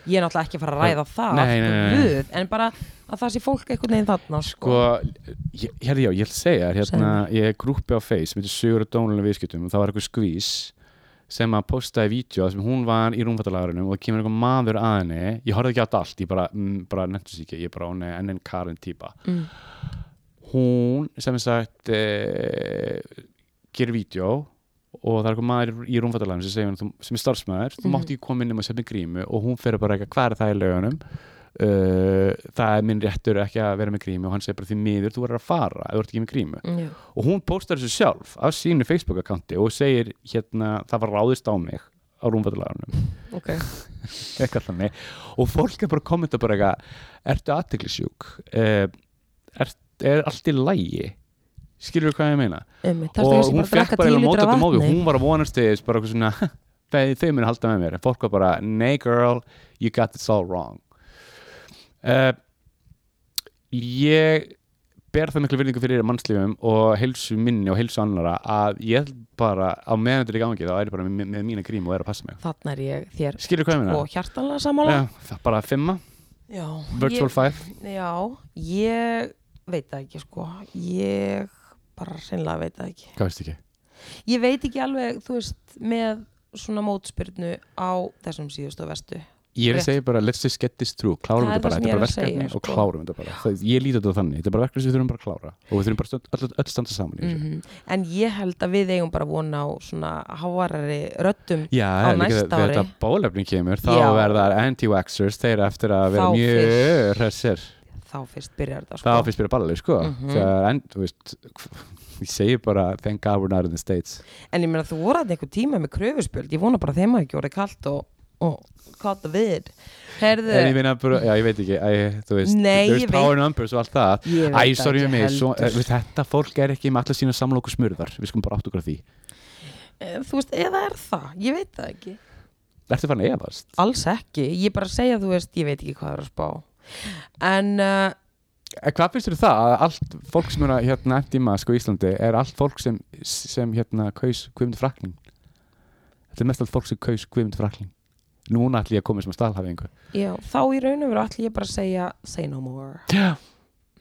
A: Ég er náttúrulega ekki að fara að ræða það,
B: Nei, nei, nei, nei.
A: guð, en bara að það sé fólk einhvern veginn þarna, sko.
B: sko, ég, hérna já, ég ætla að segja þér, hérna, ég er grúppi á Face sem heitir Sigur og Dónulega viðskiptum og það var eitthvað skvís sem að postaði vídeo þar sem hún var í rúmfattalagarunum og það kemur einhver maður að henni ég horfði ekki á þetta allt, ég bara, mm, bara nefntus ekki ég bara, hún er enn enn Karin típa
A: Mm.
B: hún sem sagt e, gerir vídeo og það er eitthvað maður í rúmfattalagunum sem segir hún sem er starfsmæður, þú
A: Mhm.
B: mátt ekki koma inn um að setja grímu og hún fer bara eitthvað, hvað er það í lögunum uh, það er minn réttur ekki að vera með grímu og hann segir bara því miður, þú verður að fara ef þú ert ekki með grímu
A: Já.
B: og hún postar þessu sjálf af sínu Facebook-akkanti og segir hérna, það var ráðist á mig á rúmfattalagunum,
A: Ok.
B: eitthvað þannig og fólk er bara að kommenta bara eitthvað ertu aðteglisjúk uh, er, er allt í lægi skilur þú hvað ég meina
A: Einmitt. Það er
B: og
A: það
B: hún
A: sem bara að
B: fekk
A: drakka
B: bara
A: tíu
B: eiginlega
A: litra
B: mótandi mófi
A: vatni.
B: hún var að vonast þess bara okkur svona <laughs> þau, þau muni halda með mér en fólk var bara nei girl, you got this all wrong uh, ég ber það miklu virðingu fyrir mannslífum og heilsu minni og heilsu annara að ég held bara á meðan þetta er í gangi þá er ég bara með, með mína grím og er að passa mig
A: Þarna er ég þér
B: skilur hvað ég meina?
A: og hjartanlega sammála.
B: Já, það er bara fimma,
A: Já.
B: virtual
A: ég-
B: five
A: Já, ég veit það ekki, sko. Ég bara hreinlega veit það ekki.
B: hvað veist ekki?
A: Ég veit ekki alveg, þú veist, með svona mótspyrnu á þessum síðustu og vestu.
B: Ég er
A: Rétt.
B: að segja bara let's just get this through klárum
A: Það er
B: þetta
A: það
B: bara,
A: sem
B: þetta
A: ég er að
B: er bara verkefni
A: segja,
B: og
A: sko.
B: klárum þetta bara það, ég líti þetta þannig, þetta er bara verkefni sem við þurfum bara að klára og við þurfum bara stönd, öll, öll standa saman í
A: Mm.
B: þessu
A: Mhm. En ég held að við eigum bara vona á svona háarari röddum.
B: Já,
A: Á
B: líka
A: næsta
B: þegar
A: ári.
B: þetta bólefni kemur þá
A: Já.
B: verða anti-waxers þeir eftir að vera
A: Þá
B: mjög
A: fyrst.
B: hressir
A: Þá fyrst byrjar þetta, sko.
B: þá fyrst byrja balli sko
A: Mhm.
B: þegar, en, þú veist, <laughs> ég segi bara thank God we're not in the States
A: En ég meina þú voru að einhver tíma með kröfuspjöld Ég vona bara að þeim hafi ekki orðið kalt og, og kalt að við Herðu,
B: en ég meina bara, já ég veit ekki æ, þú veist,
A: Nei,
B: there's
A: ég
B: power numbers og allt það
A: Ég veit
B: æ,
A: það
B: sorry
A: ekki
B: um mig, svo,
A: heldur.
B: eh, þetta fólk er ekki með alla sína samlóku smurðar við skulum bara átt okkur að því
A: eh, þú veist, eða er það, ég veit það ekki
B: ertu farin að efast?
A: Alls ekki, ég er bara að segja þú veist, ég veit ekki hvað það er að spá En uh,
B: Eh, Hvað finnst þér um það að allt fólk sem er að hérna endíma sko í Íslandi er allt fólk sem, sem hérna kaus Guðmund Frakling Þetta er mest allt fólk sem kaus Guðmund Frakling Núna ætlum ég að koma sem að stalhafi einhver
A: já, þá í raun og veru allir ég bara að segja Say no more
B: Já.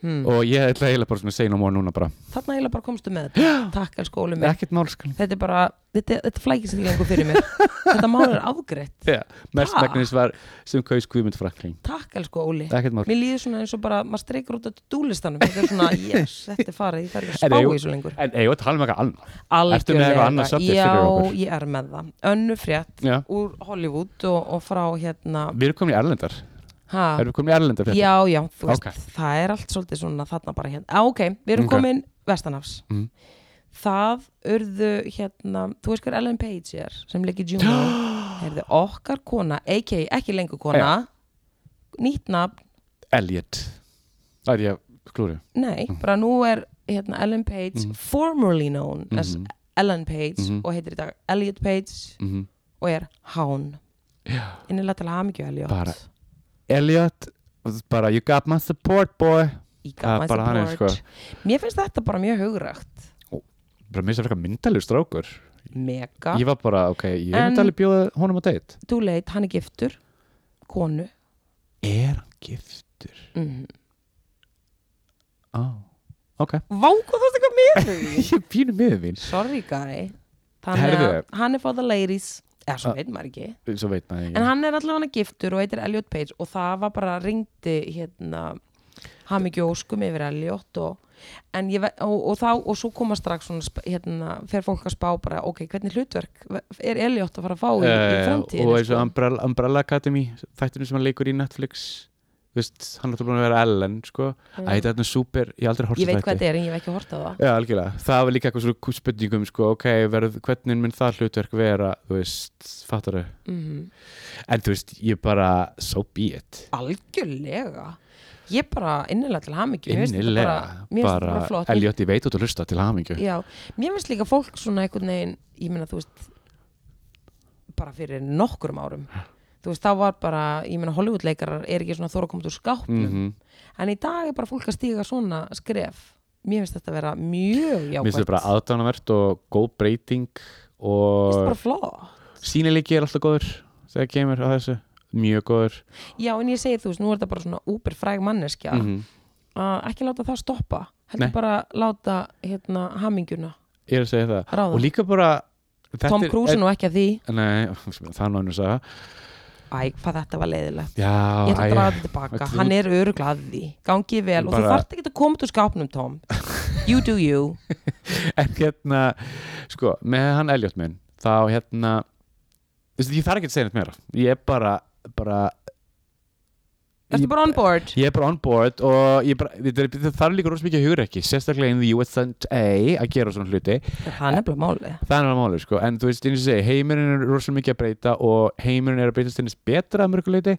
A: hmm.
B: Og ég ætla eiginlega bara svona að segja nú mór núna bara
A: Þarna eiginlega bara komstu með þetta Takk elsku Óli minn
B: Ekkert sko. málskan
A: Þetta er bara, þetta, þetta flækist ekki lengur fyrir mér Þetta mál er afgreitt
B: yeah. Mest megnis var sem kaus Guðmund Frakling
A: Takk elsku Óli
B: Ekkert mál
A: Mér líður svona eins og bara, maður streikur út á dúlistanum Þetta er
B: <laughs>
A: svona, yes, þetta er farið Ég þarf ekki að
B: En
A: spá í
B: eigum-
A: þessu lengur
B: En eigum við að tala um eitthvað annað Ertu með
A: Algjörlega.
B: eitthvað annað subject fyrir okkur?
A: Já, ég er með það Önnu frétt
B: Já.
A: úr Hollywood og, og frá hérna
B: Við erum komin í Erlendar
A: ha,
B: Erum við komin í Erlendar fyrir
A: Já, já, þú veist,
B: Ok.
A: það er allt svolítið svona þarna bara hérna ah, Ok, við erum
B: Ok.
A: komin vestanafs
B: Mhm.
A: Það urðu hérna, þú veist hver Ellen Page er sem
B: <gasps>
A: leikir Juno Herðu, okkar kona, a.k.a. ekki lengur kona Nýtt nafn,
B: Elliot Það er ég klúri
A: nei,
B: Mhm.
A: bara nú er hérna Ellen Page, formerly known as
B: Mhm.
A: Ellen Page
B: Mhm.
A: og heitir í dag Elliot Page
B: mm -hmm.
A: og er Hán
B: Já.
A: Innilega til hamingju Elliot
B: Bara- Elliot Bara you got my support boy
A: Í
B: Það er
A: gamla
B: bara hann er, sko.
A: support. Mér finnst þetta bara mjög hugrægt
B: bara minnst að frekar myndalur strákur
A: Mega
B: ég var bara, ok, ég
A: En-
B: myndi alveg bjóða honum á date
A: too late, hann er giftur konu
B: er hann giftur?
A: mm.
B: á, ok
A: Váku þú veist eitthvað mér þau
B: <laughs> ég er pínu miður mín,
A: <laughs> Sorry guy Þannig að
B: Herðu.
A: hann er for the ladies eða svo
B: Ah.
A: veit maður ekki
B: svo veit maður
A: en
B: ekki
A: hann er allavega giftur og heitir Elliot Page og það var bara ringdi hérna hami ekki óskum yfir Elliot og, en ég, ve- og, og þá og svo koma strax svona, sp- hérna, fer fólk að spá bara ok, hvernig hlutverk er Elliot að fara að fá í, í
B: Eh,
A: framtíðinu
B: og eins og
A: sko?
B: Umbrella, Umbrella Academy þættinu sem hann leikur í Netflix þú veist, hann er alltaf búin að vera Ellen sko.
A: Já.
B: að þetta er svona super, ég hef aldrei horfst
A: ég veit hvað þetta er en ég hef ekki hort á það
B: Já, algjörlega. Það var líka eitthvað svona spurningum, sko, ok, verð, hvernig mun það hlutverk vera, þú veist, fattar þau?
A: mm
B: En þú veist, ég bara, so be it.
A: algjörlega ég bara innilega til hamingju Mér finnst þetta
B: innilega
A: mér finnst þetta
B: bara,
A: bara flott.
B: Elliot, ég veit út að hlusta til hamingju
A: Mér- já, mér finnst líka fólk svona einhvern veginn ég meina þú veist bara fyrir nokkrum árum þú veist þá var bara, ég meina Hollywoodleikarar er ekki svona þóra komið úr skápnum
B: mm -hmm.
A: en í dag er bara fólk að stíga svona skref mér finnst þetta vera mjög
B: mér finnst
A: jákvæmt
B: þetta bara aðdánavert og góð breyting
A: Mér finnst þetta
B: og
A: bara flott
B: sýnileiki er alltaf góður þegar kemur á þessu, mjög góður
A: já en ég segi þú veist, nú er þetta bara svona úberfræg manneskja
B: Mhm.
A: að ekki láta það stoppa heldur
B: Nei.
A: bara láta hérna haminguna
B: ég er að segja það
A: ráða
B: og líka bara þetta
A: Tom
B: er-
A: Cruise er nú ekki að því
B: er, nei, <laughs> það er náinu að segja
A: Æ, hvað þetta var leiðilegt
B: já,
A: Ég ætla að
B: æ,
A: draga þetta tilbaka,
B: Þú-
A: hann er öruglega að því Gangi vel og þú
B: Bara-
A: þarft ekki að koma út úr skápnum, Tom You do you
B: en hérna, sko, með hann Elliot minn, þá hérna þú veist, ég þarf ekki að segja neitt meira ég er bara, bara
A: Ertu
B: Ég-
A: bara on board?
B: Ég er bara on board og ég bara, þetta er- þetta þarf líka rosa mikið hugrekki, sérstaklega in the USA að gera svona
A: Það
B: hluti,
A: er nefnilega máli
B: það er alveg málið sko, en þú veist, eins og ég segi, heimurinn er rosa mikið að breyta og heimurinn er að breytast einnins betra að mörgu hluti,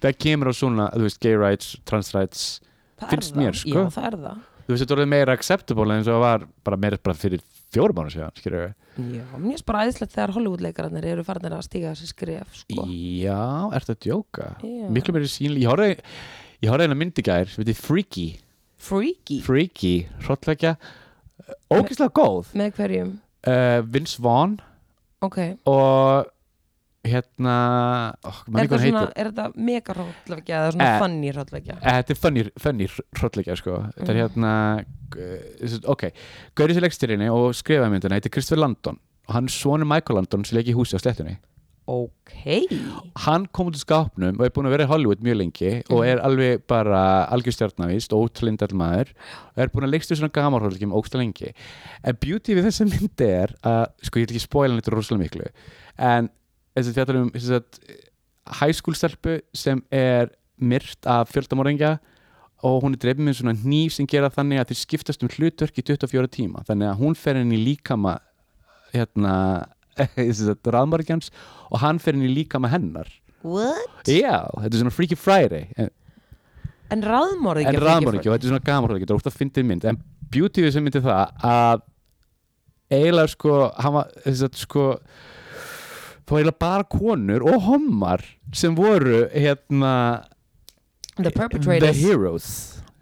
B: það kemur á svona, þú veist, gay rights, trans rights,
A: Það er
B: Finnst
A: það.
B: mér, sko.
A: Já, það er það
B: þú veist, þetta er orðið meira acceptable eins og það var bara meira bara fyrir fjórum mánu síðan, skilur við.
A: Já, mér finnst bara æðislegt þegar Hollywoodleikararnir eru farinir að stíga þessi skref sko.
B: Já, ertu að djóka?
A: Já.
B: Miklu meira sínlega, ég horfði, ég horfði eina myndi í gær, sem heitir Freaky,
A: Freaky
B: Freaky, hrottleggja, Eh, ógeðslega góð.
A: Með hverjum
B: uh, Vince Vaughn
A: Ok, er
B: og hérna oh, mann
A: þetta,
B: eitthvað
A: svona,
B: heitir
A: er þetta mega hróttleikja eða svona
B: Eh.
A: funny hróttleikja
B: Eh, Þetta er funny, funny hrottleikja sko. Þetta
A: Mm.
B: er hérna uh, ok, Gauri sér leikstýrinni og skrifaði myndina heitir Christopher Landon og hann er svonur Michael Landon sem leik í húsi á slettunni
A: Ok
B: Hann kom út úr skápnum og er búin að vera í Hollywood mjög lengi og er alveg bara algjörstjarnavíst, ótalindall maður og er búin að leikstu svona gamarhóðleikum ógsta lengi en beauty við þessa myndi er að, sko ég vil ekki spoila neitt rosalega miklu en þess að fjallar um þess að high school stelpu sem er myrt af fjöldamorðingja og hún er dreipið með svona hníf sem gera þannig að þeir skiptast um hlutverk í 24 tíma þannig að hún fer inn í líkama hérna <laughs> ráðmargjans og hann fer inn í líkama hennar
A: What?
B: já, þetta er svona Freaky Friday en,
A: En ráðmorðingja
B: en
A: fengi fólk.
B: ráðmargjans, og þetta er svona gamarhóðleiki þetta er ótt að fyndið mynd, en beauty við sem myndi það að eiginlega sko, hann var þess að sko þá eiginlega bara konur og homar sem voru hérna
A: The
B: the
A: perpetrators
B: heroes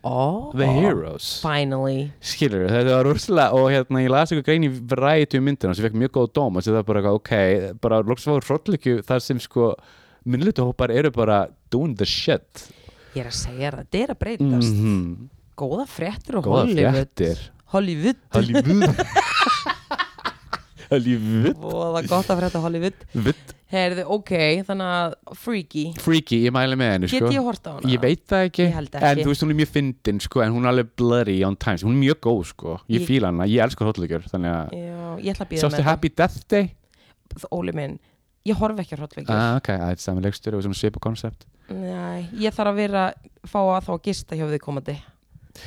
A: oh,
B: the heroes
A: Finally
B: skilur, þetta var rosalega og hérna ég las eitthvað grein í Variety um myndina sem fekk mjög góð dóm og sem það bara eitthvað, ok, bara loks var hróllíkju þar sem sko minnlutahópar eru bara doing the shit
A: Ég er að segja það, þetta er að
B: mm
A: breytast Góða fréttir og
B: góða
A: Hollywood
B: fréttir
A: Hollywood
B: Hollywood
A: <laughs>
B: Hollywood
A: Voða gott að frétta Hollywood
B: Vitt.
A: Herðu, ok, þannig að Freaky
B: Freaky, ég mæli með henni
A: Get
B: sko
A: ég hort á hana?
B: Ég veit það ekki,
A: Ég held ekki.
B: en þú veist hún er mjög fyndin sko, en hún er alveg blurry on times, hún er mjög góð sko, ég,
A: Ég-
B: fíla hana, ég elskar hróllíkjur þannig að,
A: Já, ég ætla að býða
B: sástu
A: með
B: Happy Death Day?
A: það Óli minn, ég horf ekki á hrottveikir
B: Ah, ok, það er saman leikstur og svona svipa koncept
A: Nei, ég þarf að vera fá að þá að gista hjá því komandi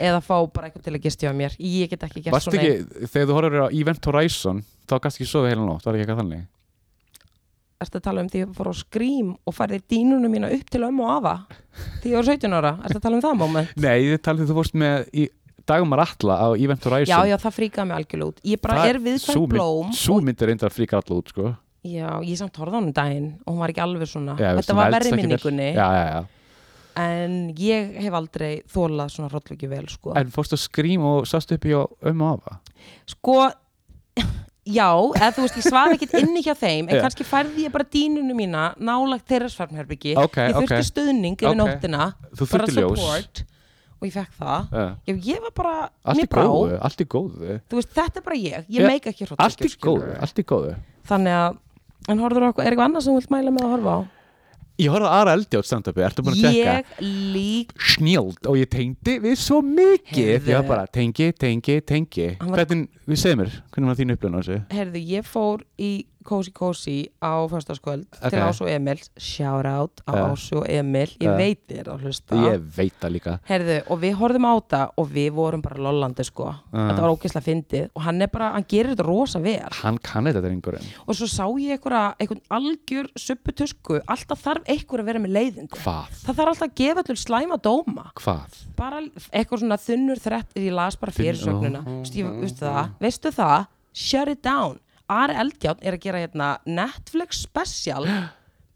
A: eða fá bara eitthvað til að gista hjá mér ég get ekki gert
B: Varst
A: svona
B: ekki, þegar þú horfður á Event Horizon þá gast ekki sofið heila nótt, það var ekki eitthvað þannig
A: Ertu að tala um því að ég fór á skrím og færði dínunum mína upp til ömmu og afa því ég var 17 ára, ertu að tala um það moment?
B: Nei, þið talið þú fórst með í dagumar alla á Event Horizon
A: Já, já, það fríkaði mig algjörlega út ég bara
B: Það-
A: er
B: sú
A: viðkvæmt
B: mynd-
A: blóm
B: Sú mynd er reyndar fríkar alla út, sko
A: Já, ég samt horfði á hún um daginn og hún var ekki alveg svona
B: Já,
A: Þetta
B: sem
A: var
B: eldst
A: verri
B: ekki vel.
A: minningunni
B: Já, já, já
A: en ég hef aldrei þólað svona hrollvöki vel sko.
B: En fórst að skrým og sást upp í um og afa
A: sko <laughs> já, eða þú veist, ég svaði ekkert inni hjá þeim en
B: Já.
A: kannski færði ég bara dínunum mína nálagt þeirra svarmherbyggi
B: Ok,
A: ég þurfti
B: ok.
A: stuðning yfir
B: Ok.
A: nóttina
B: Þú
A: bara
B: þurfti ljós.
A: support og ég fekk það
B: uh,
A: já, ég var bara,
B: Allt í
A: mér brá
B: góðu, allt í góðu
A: þú veist, þetta er bara ég,
B: Já,
A: ég meik ekki hrótt
B: Allt í góðu, allt í góðu
A: þannig að, en horfður okkur, er eitthvað annað sem þú vilt mæla með að horfa á?
B: Ég horfði á aðra eldjátt standupi, ertu búin að tjekka?
A: ég lík,
B: Snjöld og ég tengdi við svo mikið
A: Heyrðu.
B: Ég var bara tengi, tengi, tengi
A: Hann var-
B: Hvernig, við segjum mér, hvernig var þín upplun á þessu?
A: heyrðu, ég fór í Cozy Cozy á fyrstaskvöld
B: Ok.
A: til Ás og Emils, shout out á
B: Já.
A: Ás og Emil, ég
B: Já.
A: veit þér að hlusta
B: Ég veit það líka
A: Herðu, og við horfðum á þetta og við vorum bara lollandi sko þetta var ógeðslega fyndið og hann er bara, hann gerir þetta rosa vel
B: Hann kann þetta drengurinn
A: og svo sá ég einhverja, einhvern algjör supputusku, alltaf þarf einhver að vera með leiðingu
B: Hvað?
A: það þarf alltaf að gefa allir slæma dóma
B: Hvað?
A: bara eitthvað svona þunnur þrett ég las bara fyrirsögnuna
B: Þunn-
A: Veistu, ég- veistu það, veistu það, shut it down Ari Eldjárn er að gera hérna Netflix
B: <gasps>
A: special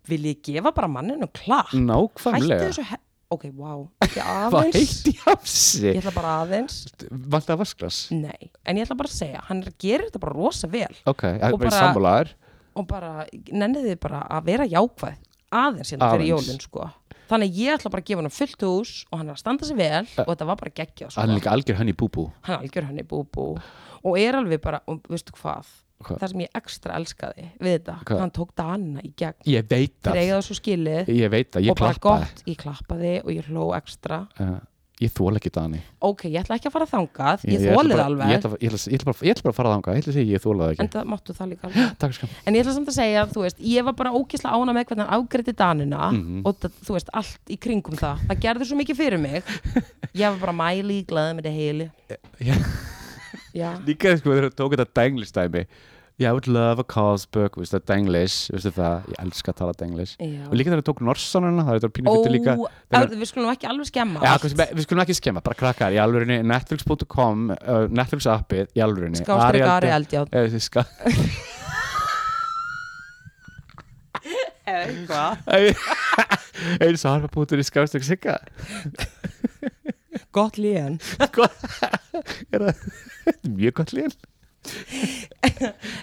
A: vil ég gefa bara manninu klapp hættu
B: Nákvæmlega
A: þessu, he- ok, wow
B: <laughs>
A: ekki
B: Mm, Hvað
A: aðeins
B: heitt í hafsi?
A: ég ætla bara aðeins
B: Vant það vasklas?
A: Nei, en ég ætla bara að segja, hann er að gera þetta bara rosa vel
B: Ok, það
A: Og
B: var
A: bara-
B: sammálaðar
A: og bara, nennið þið bara að vera jákvæð aðeins hérna fyrir
B: Aðeins.
A: jólinn sko. Þannig að ég ætla bara að gefa hann fullt hús og hann er að standa sig vel og þetta var bara geggjað sko.
B: Hann er líka algjör henni búbú
A: hann algjör hann í búbú og er alveg bara, og veistu hvað
B: Hvað?
A: það sem ég ekstra elskaði við þetta
B: Hvað?
A: hann tók Danina í gegn
B: Ég veit
A: þeir
B: það
A: eiga þessu skilið
B: Ég veit það, ég
A: og bara
B: klappaði
A: gott, ég klappaði og ég hló ekstra
B: uh, Ég þóla ekki Dani
A: ok, ég ætla ekki að fara þangað, ég,
B: ætla
A: þólið
B: bara- Ég
A: alveg
B: ætla ég ætla- ég ætla bara ég ætla bara að fara þangað Ég ætla að segja ég þóla það
A: en
B: ekki
A: það máttu það líka alveg
B: Takk sko. skam
A: En ég ætla samt að segja, þú veist, ég var bara ókísla ána með hvernig hann afgreiti danina
B: Mhm.
A: og það, þú veist, allt í kringum það. Það gerður svo mikið fyrir mig. Ég var bara mæli, glæði með þetta heili.
B: Já
A: Já,
B: Líka sko þegar þú tók þetta denglistæmi Yeah, I would love a Carlsberg, veist það, denglish, veist það, ég elska að tala denglish.
A: já.
B: Og líka þegar þú tók norsanuna, það er þetta pínu
A: Ó,
B: fyrir líka.
A: að- við skulum ekki alveg skemma
B: Já,
A: allt.
B: kannski, við skulum ekki skemma, bara krakkar í alvörinni, netflix.com, uh, netflix appið í alvörinni.
A: Skástrík Ari Eldjárn.
B: Eða, ska,
A: Eh, Hvað?
B: <laughs> eins og harfa.ri skástrík sigga.
A: Gott líðan.
B: Sko, er það <laughs> þetta er mjög gott líðan?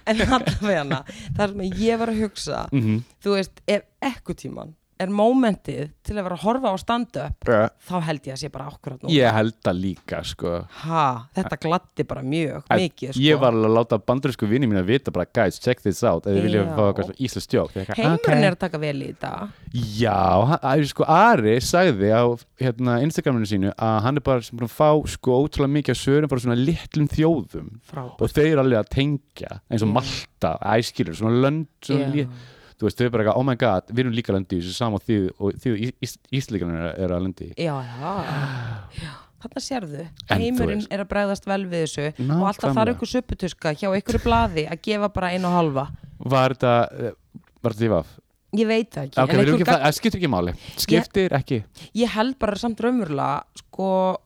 A: En allavega, það sem ég var að hugsa,
B: Mhm.
A: þú veist, ef ekkur tíman er mómentið til að vera að horfa á stand-up,
B: Uh,
A: þá held ég að sé bara akkurat nú.
B: ég held það líka, sko.
A: Ha, þetta gladdi bara mjög,
B: En
A: mikið, sko.
B: Ég var alveg að láta bandurísku vinni mín að vita bara, guys, check this out, eða vilja
A: Já.
B: fá eitthvað svona íslensk stjók.
A: Heimurinn er að taka vel í þetta.
B: Já, hann- að- sko Ari sagði á hérna, Instagraminu sínu að hann er bara sem búin að fá sko ótrúlega mikið að sörum bara svona litlum þjóðum
A: Frábært.
B: og þeir eru alveg að tengja eins og
A: Já.
B: Malta, æskilur, svona lönd svona
A: Já.
B: yeah. þú veist, þau er bara eitthvað, oh my god, við erum líka lendi í þessu sama og þið, og þið og ís, íslíkarnir eru er að lendi í
A: já, já. Þarna sérðu,
B: En þú
A: heimurinn
B: veist-
A: er að bregðast vel við þessu og alltaf
B: Nákvæmlega.
A: þarf ykkur supputuska hjá ykkur blaði að gefa bara einu og halva
B: var þetta, eh, var þetta divaf?
A: Ég veit það ekki,
B: ok, við erum
A: einhver
B: ekki,
A: gagnrýnir-
B: það það skiptir ekki máli skiptir ekki,
A: ég held bara samt raumurlega sko,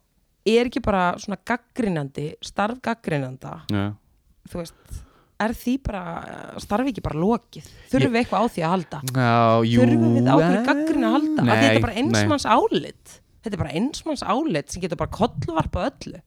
A: er ekki bara svona gaggrinandi, starf gaggrinanda
B: já
A: þú veist, er því bara starfi ekki bara lokið, þurfum við eitthvað á því að halda
B: Já, jú
A: þurfum við á
B: eh,
A: hverju gaggrin að halda af því þetta er bara
B: nei.
A: einsmanns álit þetta er bara einsmanns álit sem getur bara kollvarpa öllu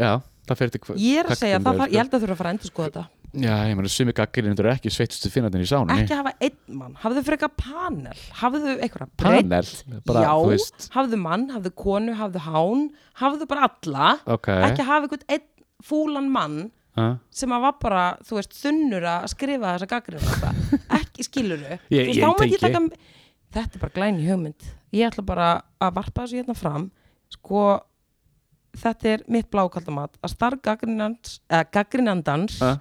B: Já, það fer til hvað
A: ég er að segja, að það, þarf- ég held að þurfa að fara að endur sko þetta
B: Já, ég meina, sumi gaggrinir eru ekki sveitustu finnarnir í sánunni
A: ekki hafa einn mann, hafðu fyrir eitthvað panel hafðu eitthvað breytt
B: Panel, bara,
A: já,
B: þú veist
A: hafðu mann, hafðu konu, hafðu hán hafðu bara alla
B: Ok,
A: ekki hafa eitthvað einn fúlan mann
B: ha?
A: sem að var bara, þú veist, þunnur að skrifa þessa gaggrinu
B: <laughs>
A: ekki skiluru
B: Ég- ég tengi.
A: þetta er bara glæni hugmynd ég ætla bara að varpa þessu hérna fram sko þetta er mitt blákaldamat að starf gaggrinandans
B: Ha?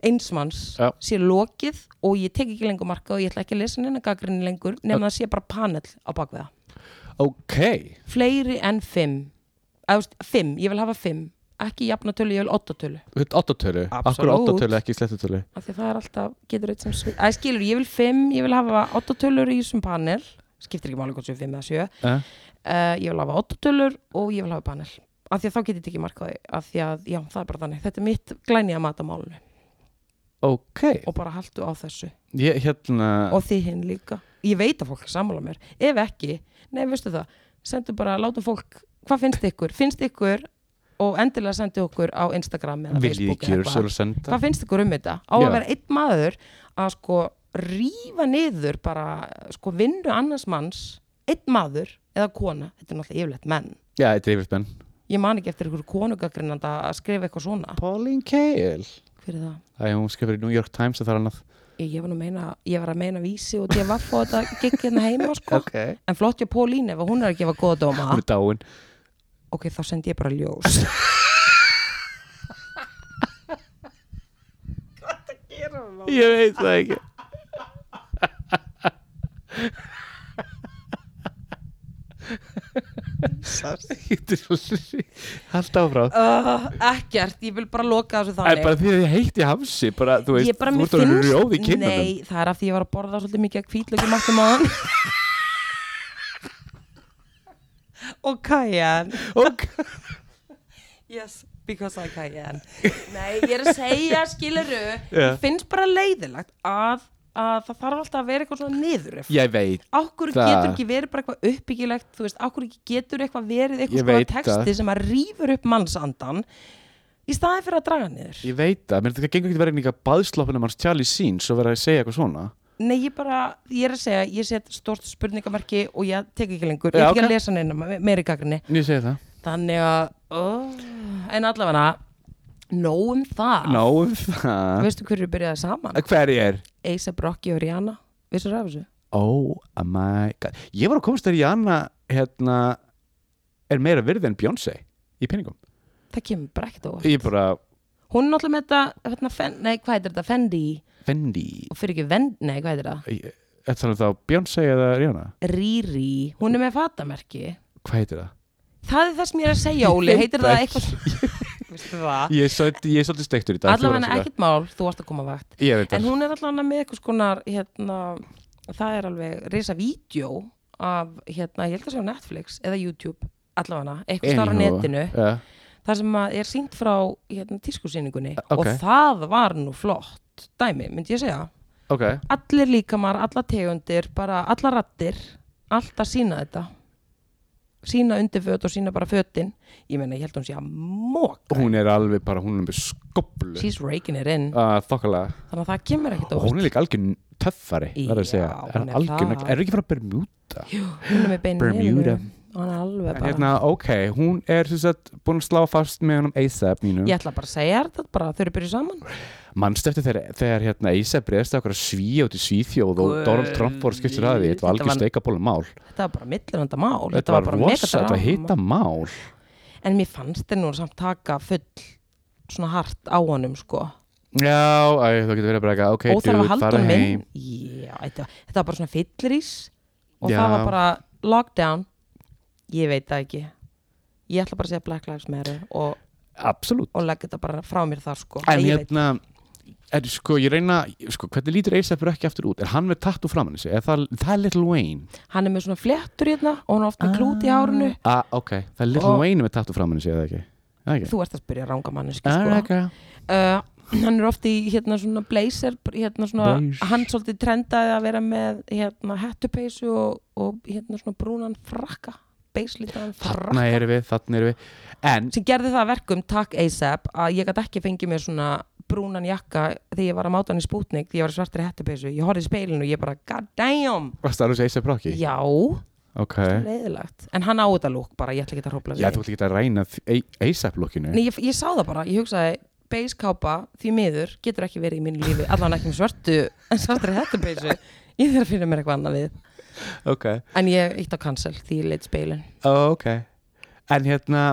A: einsmanns
B: Já.
A: sé lokið og ég tek ekki lengur marka og ég ætla ekki að lesa neina gaggrinni lengur nema það sé bara panel á bakveða
B: ok
A: fleiri en fimm Eða, þú veist, fimm, ég vil hafa fimm ekki jafnatölu, ég vil ottatölu
B: Þú veit, Áttatölu, akkur
A: Absolutt.
B: áttatölu, ekki slettutölu
A: af því að það er alltaf, getur eitt sem svi- Æ, skilur, ég vil 5, ég vil hafa 8 tölur í þessum panel, skiptir ekki máli hvort sem 5 eða 7,
B: Eh?
A: uh, ég vil hafa 8 tölur og ég vil hafa panel af því að þá getur þetta ekki markaði, af því að já, það er bara þannig, þetta er mitt glæni að mata málinu
B: Ok,
A: og bara haltu á þessu
B: ég hérna
A: og þið hinn líka, ég veit að fólk er sammála mér, ef ekki, nei, veistu það sendu bara, látum fólk, hvað finnst ykkur finnst ykkur og endilega sendu okkur á Instagram eða
B: Viljið
A: Facebook
B: ekki
A: eða
B: eru
A: eitthvað.
B: svo að senda
A: hvað finnst ykkur um þetta? Á að
B: Já.
A: vera einn maður að sko rífa niður bara sko vinnu annars manns einn maður eða kona, þetta er náttúrulega yfirleitt menn
B: Já, þetta er yfirleitt menn
A: ég man ekki eftir ykkur konugagrinanda að skrifa eitthvað svona
B: Pauline Kael
A: hver er það?
B: Það er hún skrifur í New York Times að það er annað
A: Ég, ég, var nú að meina, ég var að meina vísi og ég var fóð þetta gekk hérna heima
B: <laughs>
A: sko en flott ég Pólín ef að hún er að gefa góða dóma
B: Hún er dáin
A: ok, þá sendi ég bara
B: <laughs>
A: ljós
B: Ég veit það ekki <laughs> Þetta er svo Haldt áfrá
A: uh, ekkert, ég vil bara loka þessu
B: Það er
A: þannig
B: bara því að ég heitti hamsi bara, þú veist,
A: ég bara
B: þú
A: mér
B: ert að vera rjóð í
A: finnst
B: kinnunum
A: nei, það er af því ég var að borða svolítið mikið kvítlöki máttum á hann <laughs> og kajan
B: og
A: yes, because I kajan nei, ég er að segja, skiluru
B: Já.
A: yeah. finnst bara leiðilegt að, að það þarf alltaf að vera eitthvað svona niður
B: ég veit,
A: Ákvörðu
B: Það-
A: getur ekki verið bara eitthvað uppbyggilegt þú veist, ákvörðu ekki getur eitthvað verið
B: Ég
A: eitthvað skoða
B: veit það.
A: texti sem að rýfur upp mannsandan í staði fyrir að draga hann niður
B: ég veit það menn þetta gengur ekki verið líka baðsloppinum um hans Charlie Sins og vera að segja eitthvað svona
A: Nei, ég bara, ég er að segja, ég set stórt spurningamarki og ég tek ekki lengur, ég ætla
B: Já,
A: ekki
B: ok.
A: að lesa neina me- meiri gagrinni.
B: ég segi það,
A: Þannig að, oh, en allavega, nóg um það.
B: náum það
A: Veistu hverju byrjaði saman?
B: hver ég er
A: A$AP Rocky og Rihanna, vissur af þessu?
B: oh my god, ég var að komast þér í Anna hérna, er meira virði en Beyonce í penningum,
A: Það kemur bara ekkert á.
B: ég bara
A: Hún er náttúrulega með þetta, hérna, fen, nei, hvað heitir þetta, Fendi,
B: Fendi,
A: og fyrir ekki Vendi, nei, hvað heitir það?
B: Ég- þetta er um þá Beyonce eða Rihanna,
A: Riri, hún er með fatamerki.
B: hvað heitir það?
A: Það er það sem ég er að segja, Óli,
B: veit
A: heitir það
B: það
A: eitthvað?
B: <laughs>
A: Veistu það?
B: Ég er svolítið- ég er svolítið steiktur í dag þú verður
A: Allavega
B: að segja.
A: ekkert mál, þú varst að koma á vakt.
B: ég veit
A: En
B: það,
A: hún er allavega með eitthvað skonar hérna, það er alveg risa vídeo af, hérna, ég held að sé á Netflix eða YouTube, allavega eitthvað starf á
B: Anywho,
A: netinu,
B: já.
A: þar sem að er sínt frá hérna, tískusýningunni
B: Ok.
A: og það var nú flott dæmi, myndi ég segja
B: ok,
A: allir líkamar, alla tegundir bara alla rattir, allt að sína þetta sína undirföt og sína bara fötin ég meina, ég held að hún sé að móka
B: hún er alveg bara, hún er með skoblu
A: she's raking it in,
B: uh, þokkalega
A: þannig að það kemur ekkit
B: og
A: óvart
B: hún er líka algjör töffari verður að
A: Já,
B: segja, er
A: hún er
B: algjör
A: það.
B: negl- er ekki frá Bermuda
A: hún er með beinin
B: Bermuda.
A: hann er alveg bara
B: hérna, ok, hún er sem sagt búin að slá fast með honum ASAP mínum,
A: ég ætla bara að segja þér þetta bara þau eru byrjuð saman
B: mannstu eftir þegar, þegar hérna, ASAP reyðst okkur að svíja út í Svíþjóð og
A: Guð,
B: Donald Trump voru skiptur að því, þetta var
A: þetta
B: algjör
A: var-
B: steikabólu mál þetta,
A: þetta var bara milliranda mál þetta,
B: var
A: bara
B: rosa, þetta var
A: megadrama.
B: hitta mál
A: en mér fannst þeir nú samt taka full svona hart á honum sko
B: Já, æ, þú getur verið að brega Ok,
A: óþarf að
B: dude,
A: halda
B: fara heim
A: minn já, þetta, þetta var bara svona fyllirís og
B: Já.
A: það var bara lockdown ég veit það ekki ég ætla bara að segja Black Lives Matter og,
B: Absolutt
A: og leggja þetta bara frá mér þar sko
B: En
A: ég veit-
B: hérna, er, sko, ég reyna sko, Hvernig lítur A$AP ekki aftur út? Er hann með tattu framann í sig? Er það, það er Little Wayne
A: hann er með svona flettur hérna og hann er oft með klút í hárinu
B: ah, Ok, það er Little
A: Og- Sko.
B: Wayne með tattu framann í sig, eða ekki? Það ekki?
A: þú ert að spyrja ranga manneski
B: Ah,
A: sko.
B: okay.
A: uh, hann er oft í hérna svona blazer hérna svona,
B: Blazer.
A: hann svolítið trendaði að vera með hérna hettupeysu og, og hérna svona brúnan frakka beislitaðan frakka
B: Þarna erum við, þarna erum við En,
A: sem gerði það að verkum takk ASAP að ég gæti ekki fengið mér svona brúnan jakka þegar ég var að máta hann í spútnik því ég var í svartri hettupeysu, ég horfði í speilinu og ég bara god damn,
B: varst það alveg A$AP Rocky?
A: já
B: Ok
A: leiðilegt, en hann á þetta lúk bara, ég ætla ekki að hrópla
B: Já, þú ætla ekki að reyna A$AP lookinu
A: Nei, ég, ég sá það bara, ég hugsaði beiskápa því miður getur ekki verið í mínu lífi allan ekki með svörtu, <laughs> en svartri hettupeysu ég þarf að finna mér eitthvað annað við
B: Ok
A: en ég eitt á cancel því ég leitt speilin
B: oh, ok en hérna,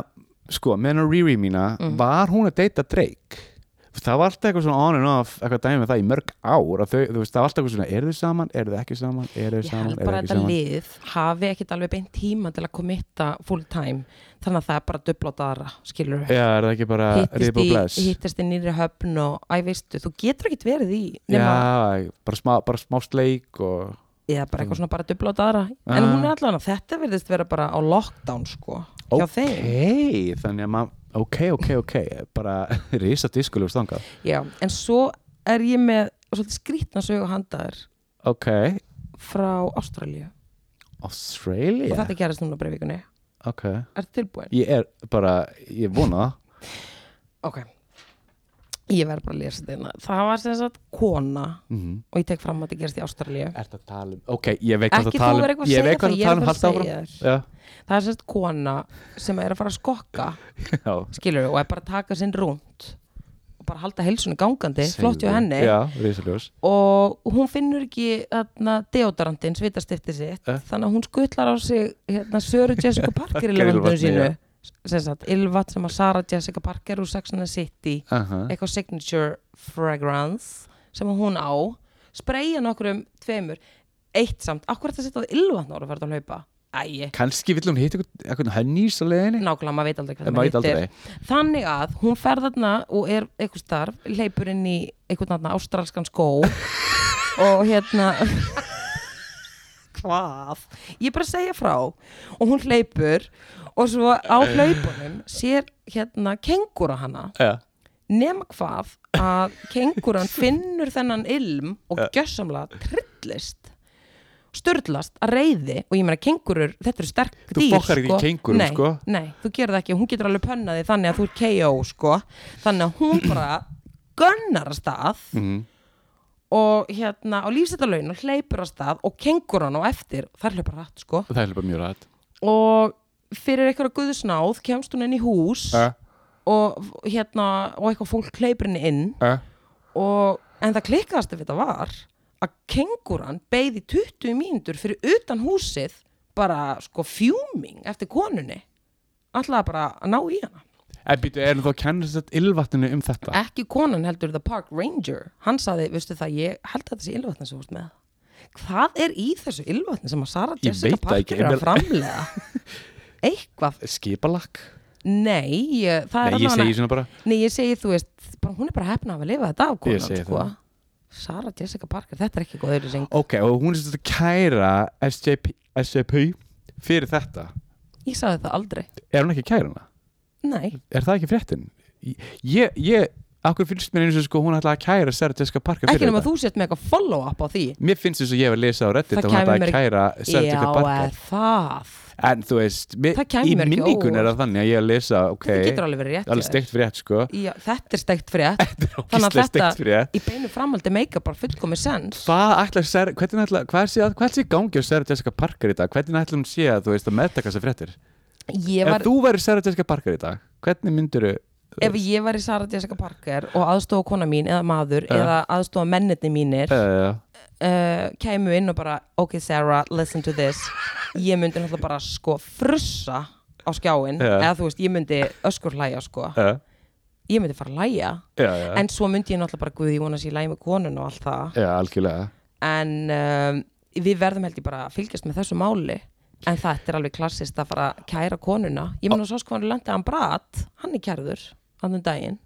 B: sko, meðan að Riri mína
A: Mm.
B: var hún að deyta Drake það var alltaf eitthvað svona on and off eitthvað dæmi með það í mörg ár að þau, þú veist, það var alltaf eitthvað svona, eru þau saman, eru þau ekki saman eru þau
A: ég
B: saman,
A: held
B: eru þau
A: bara að
B: ekki
A: þetta
B: saman
A: lið hafi ekkit alveg beint tíma til að komitta full time þannig að það er bara dublátt aðra skilur
B: já, er það ekki bara
A: hittist
B: rip og
A: í,
B: bless
A: hittist í nýri höfn og æ veistu, þú getur ekkit verið í
B: já,
A: nema,
B: bara smá, bara smá sleik og
A: eða bara eitthvað svona bara dublátt aðra en
B: Ah.
A: hún er allan að þetta verðist vera bara á lockdown sko, hjá þeim
B: ok, þannig að maður ok, ok, ok, bara <laughs> risa diskuljóð stangað,
A: Já, en svo er ég með svolítið skrýtna sögu handaðar
B: ok
A: frá Ástralíu og
B: Australia,
A: þetta gerist núna breyfikunni.
B: ok
A: Er tilbúin?
B: ég er bara, ég vona það
A: Ok. Ég verð bara að lesa þetta. hérna. Það var sem sagt kona
B: Mhm.
A: og ég tek fram að þetta gerist í Ástralíu.
B: Ert að tala um, ok, ég veit hvað
A: Ekki
B: það
A: þú
B: tala um
A: vera eitthvað að
B: Ég
A: segja
B: veit hvað
A: það,
B: það
A: ég er
B: tala um,
A: bara að
B: halda áfram
A: segja
B: Já,
A: Það er sem sagt kona sem er að fara að skokka, <laughs>
B: já
A: skilur og er bara að taka sinn rúnd og bara halda heilsunni gangandi, flott hjá
B: Segðu.
A: henni
B: Já, risaljós
A: og hún finnur ekki þarna, deodorantinn, svitastifti sitt
B: Eh?
A: þannig að hún skutlar á sig hérna, Söru Jessica
B: <laughs>
A: Parker í
B: Grillvatni,
A: lefandunum sínu sem sagt, Ylvat sem að Sara Jessica Parker úr Saxon City
B: Aha.
A: eitthvað signature fragrance sem að hún á spreyja nokkur um tveimur eitt samt, akkur þetta setjað Ylvat nára fyrir að hlaupa Æi,
B: Kanski vill hún hitta eitthvað- eitthvað hönnís á leiðinni
A: nákvæmlega, maður veit aldrei hvað
B: En
A: það
B: maður veit aldrei
A: þannig að hún fer þarna og er eitthvað starf, leipur inn í eitthvað þarna ástralskan
B: <laughs>
A: skó og hérna hvað? Ég er bara að segja frá og hún leipur og svo á hlaupunum sér hérna kengúra hana
B: Já,
A: nema hvað að
B: <laughs>
A: kengúran finnur þennan ilm og gjössamlega trillist störlast að reyði og ég meina kengurur, þetta eru sterk
B: Þú
A: dýr
B: fokkar ekki kengúrum,
A: nei,
B: sko.
A: Nei, þú gerir það ekki, hún getur alveg pönnað þig þannig að þú er KO sko þannig að hún bara gönnar að stað
B: Mhm.
A: og hérna á lífsættalaun og hleypur að stað og kenguran á eftir þar hleypur rætt sko
B: það er bara mjög rætt
A: og fyrir eitthvað guðsnáð kemst hún inn í hús
B: Eh,
A: og hérna og eitthvað fólk hleypur henni inn
B: eh.
A: og, en það klikkaðast ef þetta var að kenguran beigði 20 mínútur fyrir utan húsið bara sko fjúming eftir konunni alltaf bara að ná í hana
B: En býtu, erum þá kennast þetta ylvatninu um þetta?
A: ekki konan heldur The Park Ranger hann saði, veistu það, ég held að þetta sé ylvatni sem þú veist með hvað er í þessu ylvatni sem að Sara
B: Ég
A: Jessica
B: veit það ekki,
A: Parker er
B: ég
A: að framlega
B: <laughs>
A: eitthvað,
B: Eh, Skipalakk?
A: nei ég, það er
B: Nei, ég
A: allavega-
B: segi svona bara
A: Nei, ég segi, þú veist, bara, hún er bara hefna af að lifa þetta af
B: Ég
A: konan,
B: segi
A: sko.
B: það.
A: Sara Jessica Parker, þetta er ekki góð auðlýsing.
B: Ok, og hún er svolítið að kæra SJP, SJP fyrir þetta
A: Ég sagði það aldrei.
B: Er hún ekki að kæra hana?
A: Nei,
B: Er það ekki fréttin? Ég, ég, akkur finnst mér eins og sko hún ætlaði að kæra Sarah Jessica Parker
A: ekki
B: fyrir
A: nema
B: þetta
A: þú sett með eitthvað follow-up á því.
B: Mér finnst þess að ég hef að lesa á
A: Það
B: Reddit að hún
A: kæmi
B: ætlaði
A: mér
B: að kæra
A: Já,
B: Sarah Jessica Parker
A: er það.
B: En þú veist, mér,
A: Það kæmi
B: í
A: mér ekki
B: minningun er
A: óvart.
B: það þannig að ég er að lesa ok,
A: Þetta getur alveg verið rétt. hjá
B: alveg
A: þér.
B: steikt frétt sko
A: Já, <laughs> þetta er steikt frétt. Þannig að
B: Ógislega steikt frétt
A: Í beinu framhaldi make bara fullkomi sens.
B: Hvað ætlar Sarah, hvernig ætlar, hvað er sé að, hvað er sé í gangi á Sarah Jessica Parker í dag? Hvernig ætlar hún sé að, þú veist, að meðtaka þessar fréttir?
A: Ég
B: Ef
A: var,
B: þú væri Sarah Jessica Parker í dag, hvernig myndir þú,
A: ef ég var í Sara Jessica Parker og aðstofa kona mín eða maður eða
B: Ja.
A: aðstofa mennetni mínir
B: uh,
A: uh, kæmu inn og bara ok Sarah, listen to this ég myndi náttúrulega bara sko frussa á skjáin
B: Já.
A: eða þú veist, ég myndi öskur hlæja sko
B: uh,
A: ég myndi fara að læja
B: já, já,
A: en svo myndi ég náttúrulega bara guði, ég vona að sé lægi með konun og allt það
B: já, eh, algjörlega
A: en um, við verðum held ég bara að fylgjast með þessu máli en þetta er alveg klassist að fara að kæra konuna ég mun að svo sko hann landi hann brat hann er kærður, hann um daginn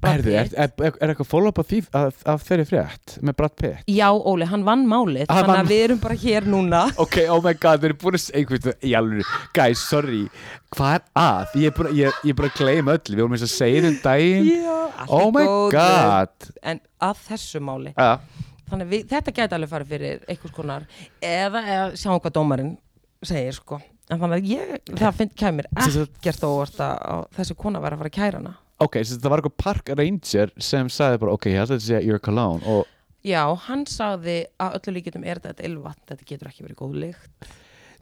A: Brad
B: Herðu, er,
A: Pitt.
B: er, er, er eitthvað follow-up af, því- af, af þeirri frétt með Brad Pitt?
A: Já, Óli, hann vann málið,
B: Ah, Hann
A: þannig
B: vann-
A: að við erum bara hér núna
B: Ok, oh my god, þeir eru búin að segja einhvern veginn, alveg, guys, sorry, hvað er að? Ég er búin, að- ég, ég er búin að gleyma öll, við vorum eins að segja þeim daginn,
A: Já,
B: <laughs> oh my god. Ah,
A: En að þessu máli
B: Ja,
A: Þannig að við, þetta gæti alveg farið fyrir einhvers konar eða, eða sjáum hvað dómarinn segir sko En þannig að ég, það finn kæmir
B: Sem sagt-
A: ekkert á óvart að að þessi kona væri að fara að kæra hana
B: ok, þess að það var eitthvað park ranger sem sagði bara, ok, ég ætla að segja you're cologne og
A: Já, hann sagði að öllu líkjöndum er þetta ylvatn, þetta getur ekki verið góð lykt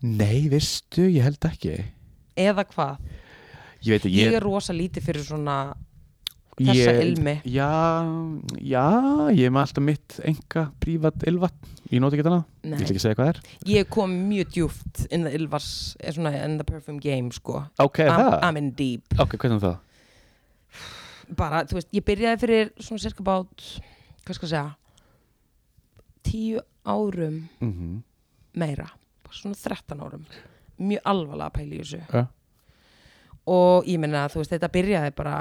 B: nei, veistu, ég held ekki.
A: eða hvað,
B: Ég veit ekki,
A: ég
B: ég...
A: er rosa lítið fyrir svona þessa ilmi
B: Já, já, ég er með alltaf mitt enga prívat ilvatn, ég nota ekki þannig,
A: Nei.
B: ég ætla ekki að segja hvað það er.
A: ég kom mjög djúft in the ylvars, eh, svona in the perfume game sko,
B: Ok, er
A: I'm,
B: það?
A: I'm in deep
B: Ok, hvernig það?
A: bara, þú veist, ég byrjaði fyrir svona cirka bát, hvað skal ég segja tíu árum
B: Mm
A: meira, bara svona 13 árum mjög alvarlega að pæla í þessu
B: Ja.
A: og ég meina þú veist, þetta byrjaði bara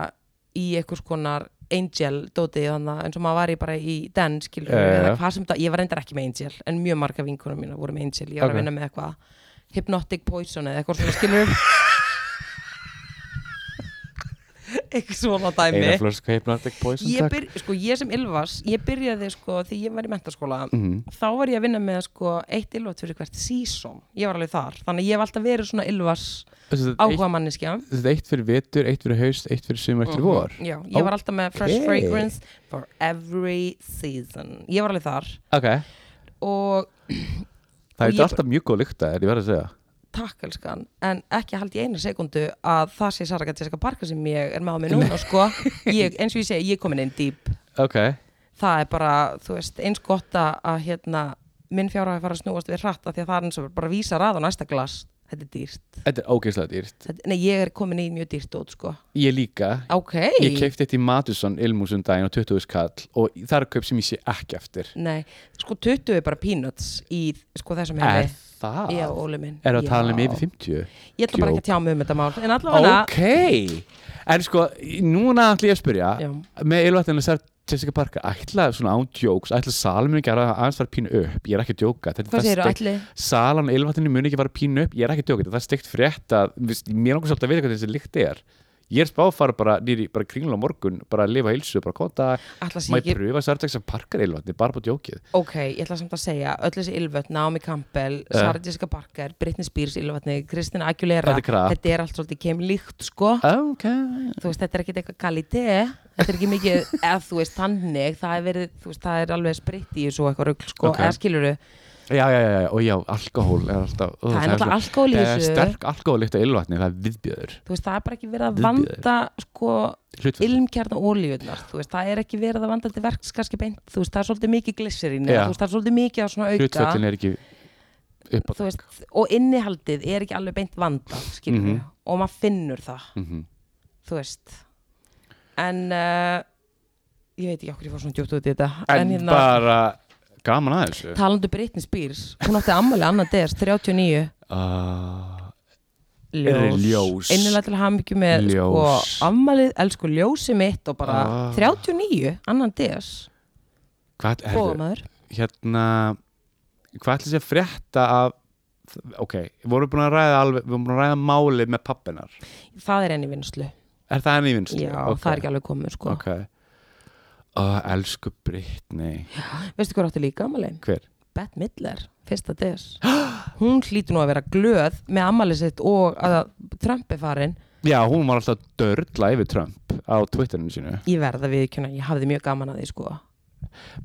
A: í einhvers konar angel dótið þannig eins og maður var í bara í den skilur
B: Ja, ja,
A: eða
B: ja.
A: hvað sem það, ég var reyndar ekki með angel en mjög marga vinkunum mína voru með angel ég var
B: Ok.
A: að vinna með eitthvað hypnotic poison eða eitthvað svona
B: <laughs>
A: skilur eitthvað svona dæmi
B: Eina flösku hypnotic poison
A: ég,
B: takk
A: byr, sko, ég sem Ylvas, ég byrjaði sko því ég var í mentaskóla
B: Mhm.
A: þá var ég að vinna með sko eitt Ylvat fyrir hvert season, ég var alveg þar þannig að ég hef alltaf verið svona Ylvas
B: Þessi, þetta er eitt-
A: áhuga manneskja Mm.
B: þetta er eitt fyrir vetur, eitt fyrir haust, eitt fyrir sumar, eitt fyrir vor
A: Já, ég var alltaf með Fresh
B: Ókei.
A: Fragrance for every season ég var alveg þar
B: Ok,
A: og
B: það
A: Og
B: er
A: ég-
B: alltaf mjög góð lykta, er ég verið að segja
A: takk elskan, en ekki held í einu sekundu að það sé Sara Gatjeska Parker sem ég er með á mig
B: <laughs>
A: núna sko ég, eins og ég segi, ég er komin inn dýp
B: Ok,
A: það er bara, þú veist, eins gott að, að hérna, minn fjárhæði fara að snúast við hratt af því að það er eins og bara vísa ræð á næsta glas, þetta er dýrt
B: þetta er ógeðslega dýrt
A: þetta, nei, ég er komin í mjög dýrt út, sko
B: Ég líka,
A: ok,
B: ég keipti eitt í Matusson ilmúsum daginn á 20 skall og það er kaup sem ég sé ekki eftir
A: nei, sko 20 er bara peanuts í, sko, þessum
B: Er
A: hefði
B: það?
A: Já, Óli minn
B: Ah. Er það að tala um
A: Já.
B: yfir 50?
A: Ég ætla bara ekki að tjá mig um þetta mál En allavega
B: Ok, en sko, núna ætla ég að spyrja
A: Já.
B: með ylvatnina sér Jessica Parker ætla svona án jokes, ætla salin muni ekki að aðeins fara pínu upp, ég er ekki að djóka Þetta er
A: Hvað
B: það
A: segirðu,
B: steikt-
A: ætli?
B: salan og ylvatninu muni ekki fara pínu upp ég er ekki að djóka, þetta er steikt frétt að viðst, mér langar svolítið að vita hvað þessi lykt er ég er spá að fara bara nýri, bara kringla á morgun bara að lifa heilsu, bara kóta
A: Ætla sé
B: maður
A: ekki,
B: ég... pröfa sér Jessica Parker ylvatni, bara bara djókið
A: ok, ég ætla samt að segja Öll þessi ylvötn, Naomi Campbell, Sarah Jessica Parker Britney Spears ylvötni, Kristina Aguilera
B: Eh. Þetta er kraft.
A: Þetta er allt svolítið kem líkt, sko
B: ok,
A: þú veist, þetta er ekkert eitthvað kalite eh? þetta er ekki
B: <laughs>
A: mikið, eða þú veist, þannig það er verið, þú veist, það er alveg spritt í þessu og eitthvað rugl, sko,
B: Ok.
A: eða skiluru
B: já, já, já, já, og já, alkohól er alltaf, ó,
A: það er náttúrulega alkohol í
B: það er
A: þessu
B: sterk alkohól lykt af ylvatni, það er viðbjöður
A: þú veist, það er bara ekki verið að
B: Viðbjóður.
A: vanda sko,
B: hlutfell,
A: ilmkjarna ólíunar þú veist, það er ekki verið að vanda til verks kannski beint, þú veist, það er svolítið mikið glisserín
B: Já.
A: þú veist, það er svolítið mikið á svona auka
B: hlutfellin er ekki upp á
A: þú veist, og innihaldið er ekki alveg beint vanda, skiluru
B: Mhm.
A: og maður finnur það,
B: Mhm.
A: þú veist en uh, ég veit ekki okkur ég fór svona djúpt út í þetta hérna-
B: en bara gaman að þessu
A: talandu um Britney Spears hún átti ammali annan des, 39
B: uh,
A: ljós,
B: ljós.
A: innilega til hamingju með sko,
B: Ljós.
A: ammalið, elsku ljósi mitt og bara
B: Ah.
A: 39 annan des,
B: hvað er
A: góða maður
B: hérna hvað ætlis ég að frétta af ok, vorum við búin að ræða alveg, við vorum búin að ræða málið með pappinar
A: það er enn í vinnslu,
B: er það henni í vinstu?
A: já, það er ekki alveg komið sko.
B: ok oh, elsku Brittany
A: veistu hvað átti líka ammali?
B: hver?
A: Bette Midler, fyrsta des hún hlýtur nú að vera glöð með ammalið sitt og að Trump er farin
B: já, hún var alltaf dörla yfir Trump á Twitterinu sínu
A: ég verða við ekki, ég hafði mjög gaman að því sko.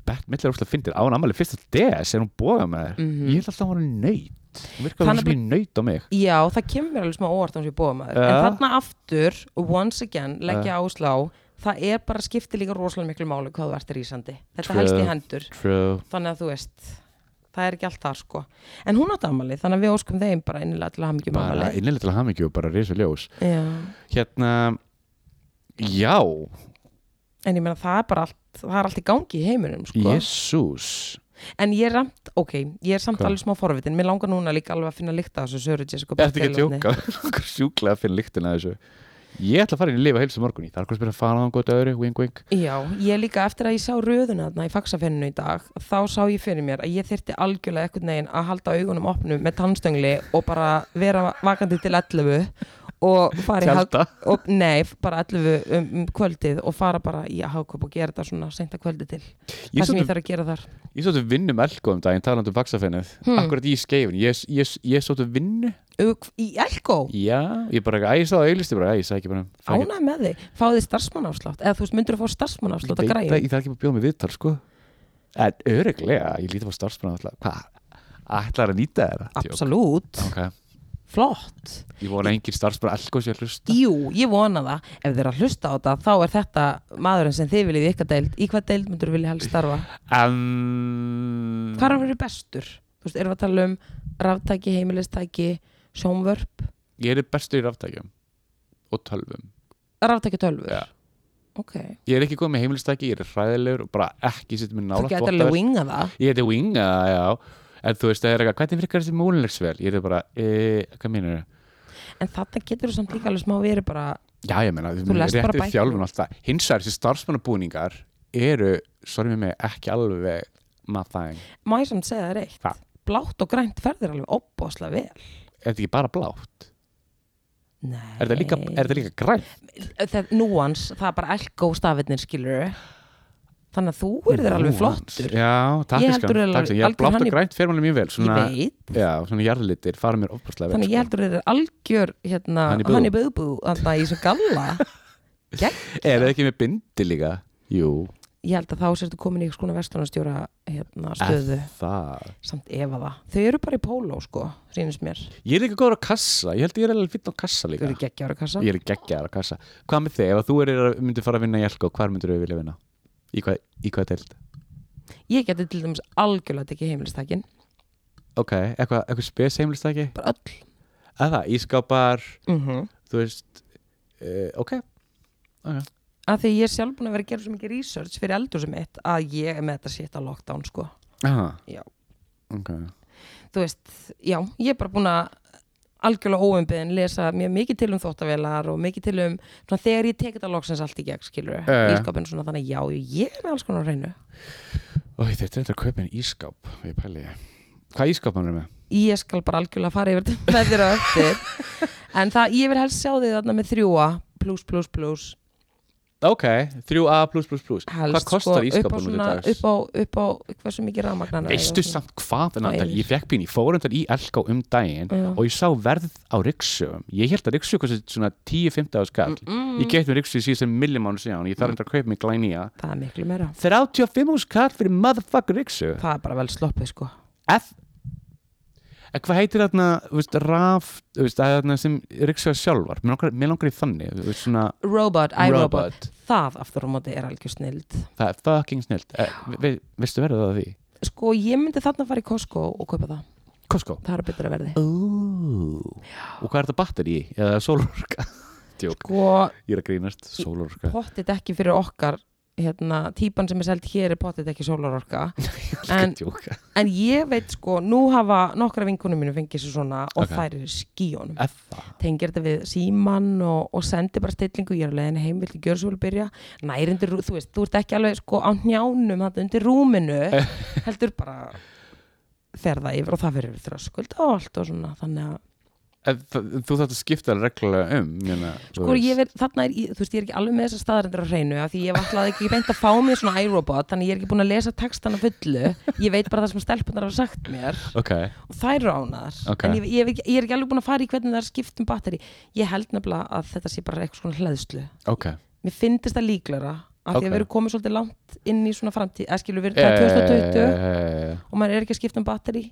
B: Bert Miller úrslega fyndir á hún ammali fyrsta DS er hún bóða með þér
A: Mhm.
B: ég held alltaf að hún var nöyt hún virkar
A: Þannig
B: hún sem í nöyt á mig
A: Já, það kemur mér alveg smá óvart á hans ég bóða maður
B: Ja.
A: En þarna aftur, once again, leggja uh. ásla á Það er bara skipti líka rosalega miklu máli hvað þú ert rísandi Þetta
B: True.
A: helst í hendur
B: true
A: Þannig að þú veist, það er ekki allt þar sko En hún átt ammali, þannig að við óskum þeim bara innilega til að hafa mikið um
B: bara
A: ammali
B: innilega til hamingju og bara risa ljós
A: Já,
B: hérna já,
A: en ég meina það er bara allt það er allt í gangi í heiminum sko.
B: Jésús
A: en ég er samt, ok, ég er samt
B: Hvað?
A: alveg smá forvitin mér langar núna líka alveg að finna líkt á þessu Söru Jessica
B: Þetta ekki að
A: Biel-efni.
B: <laughs> tjóka Okkur sjúklega að finna lyktina af þessu Ég ætla að fara inn í lifa heilsu morgun Ég þarf hvað að spyrja að fara á hann gott öðru Wing wing
A: Já, ég líka eftir að ég sá röðuna þarna í faksafenninu í dag, þá sá ég fyrir mér að ég þyrfti algjörlega eitthvað neginn að halda augunum opnum með tannstöngli og bara vera vakandi til 11 og fara í hag-
B: Tjálta
A: og, nei, bara 11 um, um kvöldið og fara bara í að hagkaup og gera þetta svona seinta kvöldi til,
B: Ég
A: það sem
B: svolítið
A: ég þarf að gera þar
B: ég svolítið vinnum elko um daginn talandi um faksafennið
A: Hmm.
B: Akkurat í skeifin Ég, ég, ég svolítið vinnu
A: Ug, í Elko,
B: Já, ég bara Æ, ég sá það auðlisti bara Æ, ég sækja bara fæ ekki-
A: ánað með þig fáðu þið starfsmannafslátt, eða þú veist, myndur að fá
B: Ég
A: starfsmannafslátt
B: veit
A: að
B: það,
A: græja
B: Ég þarf ekki bara að bjóða mig viðtal sko En öruglega Ég líti bara starfsmann alltaf Hvað? Ætlar að nýta þér það? Djók.
A: Absolút,
B: Ok.
A: flott
B: Ég vona engin starfsmann elko sér hlusta
A: Jú, ég vona það, ef þið eru að hlusta á þetta þá er þetta maðurinn sem þið viljið í ykkar deild í hvað deild myndur vilja helst starfa
B: En
A: hvað er að vera bestur? Þú veist, erum við að tala um ráftæki, heimilistæki, sjónvörp
B: Ég er bestur í ráftækjum Og tölvum
A: ráftæki tölfur
B: Já.
A: ok,
B: Ég er ekki góð með heimilistæki Ég er hræðilegur og bara ekki sitt með
A: þú
B: nála
A: getur alveg winga það
B: Ég heiti Wing eða, já En þú veist, það er eitthvað, hvernig virkar þessi múlinlegsvel? Ég er bara, e, hvað mínur þau?
A: en þarna getur þú samt líka alveg smá verið bara
B: Já, ég meina,
A: Þú lest bara
B: réttir
A: bækur.
B: þjálfun og allt það. Hins vegar, þessi starfsmannabúningar eru, sorry með mig, ekki alveg matthæðing.
A: má ég samt segja það reitt
B: Hvað?
A: blátt og grænt ferðir alveg opbóðslega vel
B: Er þetta ekki bara blátt?
A: Nei.
B: Er þetta líka, er þetta líka grænt?
A: það, núans, það er bara elko stafirnir skilur þannig að þú er þér alveg
B: Nú,
A: flottur
B: Já, takk
A: Ég
B: skan,
A: heldur alveg-
B: takk skan. Já,
A: algjör
B: blátt
A: hann
B: og
A: í-
B: grænt fer manni mjög vel. Svona,
A: ég veit
B: já, svona jarðlitir fara mér opastlega vel. sko.
A: Þannig ég heldur þetta er algjör hérna,
B: Honey Boo.
A: Honey Boo Boo Þannig að ég sem galla <laughs> Gegn,
B: Er þetta ekki með bindi líka? Jú,
A: Ég held að þá sérstu komin í skona vestlunarstjóra hérna, stöðu
B: er það.
A: Samt ef að það Þau eru bara í póló sko, sýnist mér
B: Ég er líka góður á kassa, ég held ég er alveg fýtt á kassa
A: Þau
B: líka.
A: eru geggjára kassa
B: Ég er geggjaður á kassa. Hvað með þig, ef að þú er, myndir fara að vinna í Elko, hvar myndir þau vilja vinna? Í hvað, í hvað deild?
A: Ég geti til dæmis algjörlega tekið heimilistækin
B: ok, eitthvað eitthva spes heimilistæki
A: Bara öll
B: að það, ískápar,
A: mm
B: þú veist uh, ok,
A: Af því ég er sjálf búin að vera að gera svo mikið research fyrir eldur sem mitt að ég er með þetta shit að lockdown sko
B: Aha.
A: Já.
B: ok,
A: þú veist, já, ég er bara búin að algjörlega óumbiðin lesa mjög mikið til um þóttavélar og mikið til um svona, þegar ég tek þetta loksins allt í gegn skilur
B: Já, já.
A: í skapinu svona þannig já, ég er með alls konar á hreinu
B: og þetta er þetta að kaupa en ískáp ég pæli ég, hvað ískápan er með?
A: ég skal bara algjörlega fara yfir þetta <laughs> með þér á eftir en það, ég vil helst sjá þig þarna með þrjúa pluss, pluss, pluss
B: ok, 3A plus plus plus
A: helst,
B: hvað kostar
A: sko, upp á
B: ískápan út í
A: svona,
B: dags?
A: upp á, upp á hversu mikið rafmagnan
B: veistu samt hvað, en
A: Hvað
B: Andal,
A: er?
B: ég fekk pín ég fór undan í Elko um daginn
A: Já.
B: og ég sá verð á ryggsögum ég held að ryggsög kosti svona 10-15 á skall
A: Mm,
B: ég get með ryggsög síðan sem millimánu síðan og ég þarf undan að kaupa mig glænýja
A: það er miklu meira
B: 35 á skall fyrir motherfucker ryggsög
A: það er bara vel sloppið sko
B: F En hvað heitir þarna, þú veist, raf þú veist, það er þarna sem Ríksjóða sjálfar mér langar, mér langar í þannig, þú veist, svona
A: robot, iRobot,
B: robot,
A: það aftur á móti er algjör snild
B: það er fucking snilt Eh, ve, veistu verðið það á því?
A: sko ég myndi þarna fara í Costco og kaupa það
B: Costco
A: það er betra verði
B: Ooh. og hvað er þetta batteri í? eða sólorka? Djók,
A: sko
B: ég er að grínast, sólorka
A: pottit ekki fyrir okkar hérna, típan sem er seld hér er pottit ekki sólarorka en,
B: Djók,
A: en ég veit sko, nú hafa nokkra vinkunum mínu fengið sér svona og
B: Ok.
A: þær eru skíunum
B: F það
A: tengir þetta við símann og, og sendi bara stillingu, ég er alveg henni heim viltu gjöra svo vel byrja, nærindir, þú veist þú ert ekki alveg sko á njánum þetta undir rúminu, heldur bara fer það yfir og það verður þröskuld og allt og svona þannig að
B: En það- Þú þarft að skipta það reglulega um mjöna,
A: Sko ég verð, þarna er, ég- þú veist, ég er ekki alveg með þessar staðarendur á hreinu af því ég ætlaði ekki beint að fá mér svona iRobot þannig ég er ekki búin að lesa textana fullu ég veit bara það sem stelpunar hafa sagt mér
B: Ok,
A: og þær eru ánæðar
B: Ok.
A: en ég, ég, hef ekki- ég er ekki alveg búin að fara í hvernig það er skipt um batteri ég held nefnilega að þetta sé bara eitthvað svona hlæðslu
B: ok
A: mér finnst það líklara af því
B: Ok.
A: að við erum komið svolítið langt inn í svona framtíð eða skilur við, það er 2020
B: Eh,
A: og maður er ekki að skipta um batteri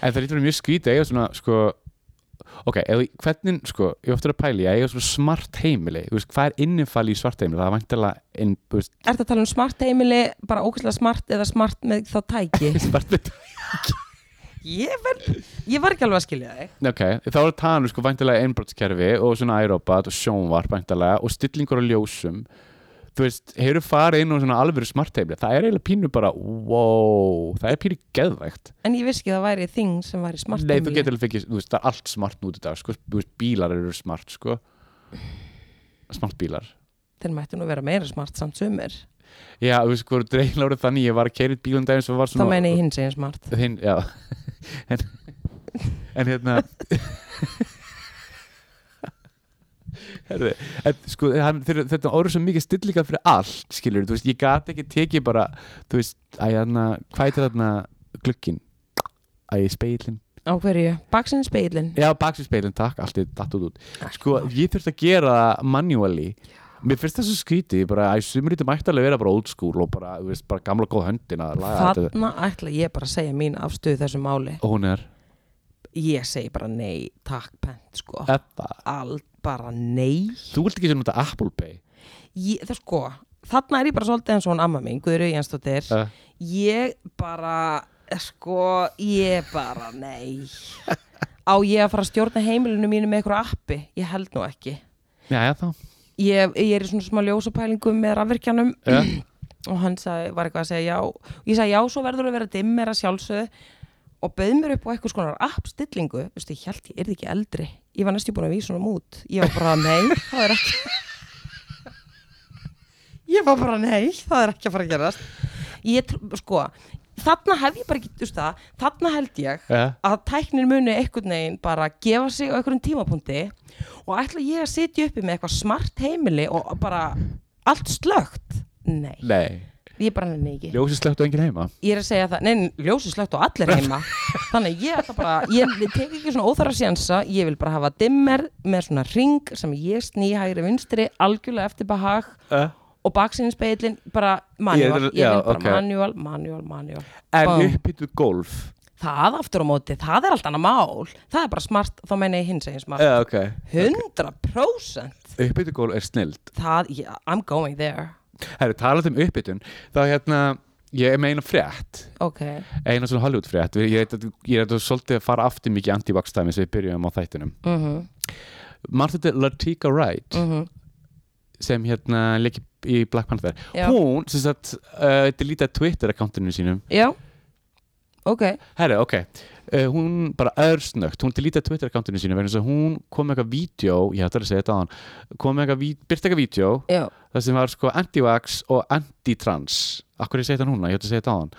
B: En það lítur að vera mjög skrítið að eiga svona, sko Ok, eða, hvernig, sko, ég ofta að pæli að eiga svona smart heimili, þú veist, hvað er innifalli í svart heimili, það er vantilega inn, þú veist, <laughs>
A: Er þetta að tala um smart heimili, bara ókvæslega smart eða smart með þá tæki?
B: <laughs> svart heimili
A: ég, verð, ég var ekki alveg að skilja þig.
B: Ok, þá er það nú, sko, vantilega einbrottskerfi og svona iRobot og sjónvarp vantilega og stillingur á ljósum þú veist, hefur farið inn á svona alvöru smartteifli, það er eiginlega pínu bara wow, það er pínu geðvægt
A: En ég vissi ekki að það væri þing sem væri smart
B: Nei, þú
A: heimili.
B: getur alveg fengið, þú veist, það er allt smart nú í dag, sko, þú veist, bílar eru smart, sko smart bílar
A: Þeir mættu nú vera meira smart samt sumir
B: Já, þú veist, hvað eru dreigilega voru þannig, ég var að keira í bílum daginn sem var
A: Þá
B: svona
A: meina ég hins eginn smart
B: Hinn, já en, en hérna Herði, en, sko, hann, þeir, þetta orður svo mikið stillinga fyrir allt, skilur, þú veist, ég gat ekki tekið bara, þú veist, að hérna hvað er þarna glukkin að ég speilin,
A: Á hverju? Baksinn speilin
B: já, baksvið speilin takk, allt er datt út út, sko, ég þurfti að gera það manually mér finnst það svo skrítið, ég bara, að sumritum ætti alveg að vera bara old school og bara, þú veist, bara gamla góð höndin að laga þetta,
A: Þarna ætla ég bara að segja mín afstöðu þessu máli
B: og hún er
A: Ég segi bara nei, takk pent sko
B: þetta,
A: Allt bara nei
B: þú vilt ekki sem þetta Apple Pay
A: ég, Það sko, þarna er ég bara svolítið eins og hún amma mín Guðru Jensdóttir
B: uh.
A: Ég bara, sko, ég bara,
B: <laughs>
A: nei. Á ég að fara að stjórna heimilinu mínu með einhverju appi? Ég held nú ekki.
B: Já, já, þá.
A: Ég, ég er í svona smá ljósapælingum með rafvirkjanum <clears throat> og hann sagði, var eitthvað að segja já. Ég sagði já, svo verður að vera dimmera sjálfsögðu og bauð mér upp á eitthvað skonar appstillingu. Þú veist, ég held ég er ekki eldri. Ég var næstu búin að vísa honum út. Ég var bara, nei, það er ekki. <laughs> Ég var bara, nei, það er ekki að fara að gerast. Ég, tr- sko, þarna hef ég bara ekki, þú veist það, þarna held ég
B: Já.
A: að tæknin muni einhvern veginn bara gefa sig á einhverjum tímapunkti og ætla ég að sitja uppi með eitthvað smart heimili og bara allt slögt. Nei,
B: Nei.
A: ég bara nenni því ekki
B: Ljósið slögt og enginn heima.
A: ég er að segja það, nein, ljósið slögt og allir
B: <laughs>
A: heima þannig ég ætla bara, ég tek ekki svona óþara sjansa, ég vil bara hafa dimmer með svona ring sem ég sný hægri vinstri, algjörlega eftir behag
B: Uh.
A: og baksinspeilin bara manual,
B: Ég-
A: ég,
B: já,
A: vil bara
B: ok.
A: manual, manual, manual
B: En
A: Bá.
B: uppbyttu golf.
A: það aftur á móti, það er allt annað mál það er bara smart, þá meina ég hins eginn smart
B: Já, Eh, ok.
A: 100%
B: Uppbyttu golf er snild.
A: það, yeah, I'm going there
B: Herru, talað um uppbytun, þá hérna, ég er með eina frétt,
A: ok,
B: eina svona Hollywood frétt. Ég er þetta- ég er þetta svolítið að fara aftur mikið anti-vaxtæmi sem við byrjum á þættinum.
A: mhm
B: Martha de Latika Wright,
A: mhm.
B: sem hérna leikir í Black Panther,
A: Já.
B: hún sem sagt uh, delítið Twitter-akkantinu sínum
A: já, ok
B: Herra, ok, uh, hún bara örsnögt, hún delítið Twitter-akkantinu sínu vegna þess að hún kom með eitthvað vídeo, ég ætla að segja þetta á hann kom með eitthvað, ví- byrti eitthvað vídeo
A: já,
B: það sem var sko anti-vax og anti-trans Akkur ég segi þetta núna, ég ætla að segja þetta á hann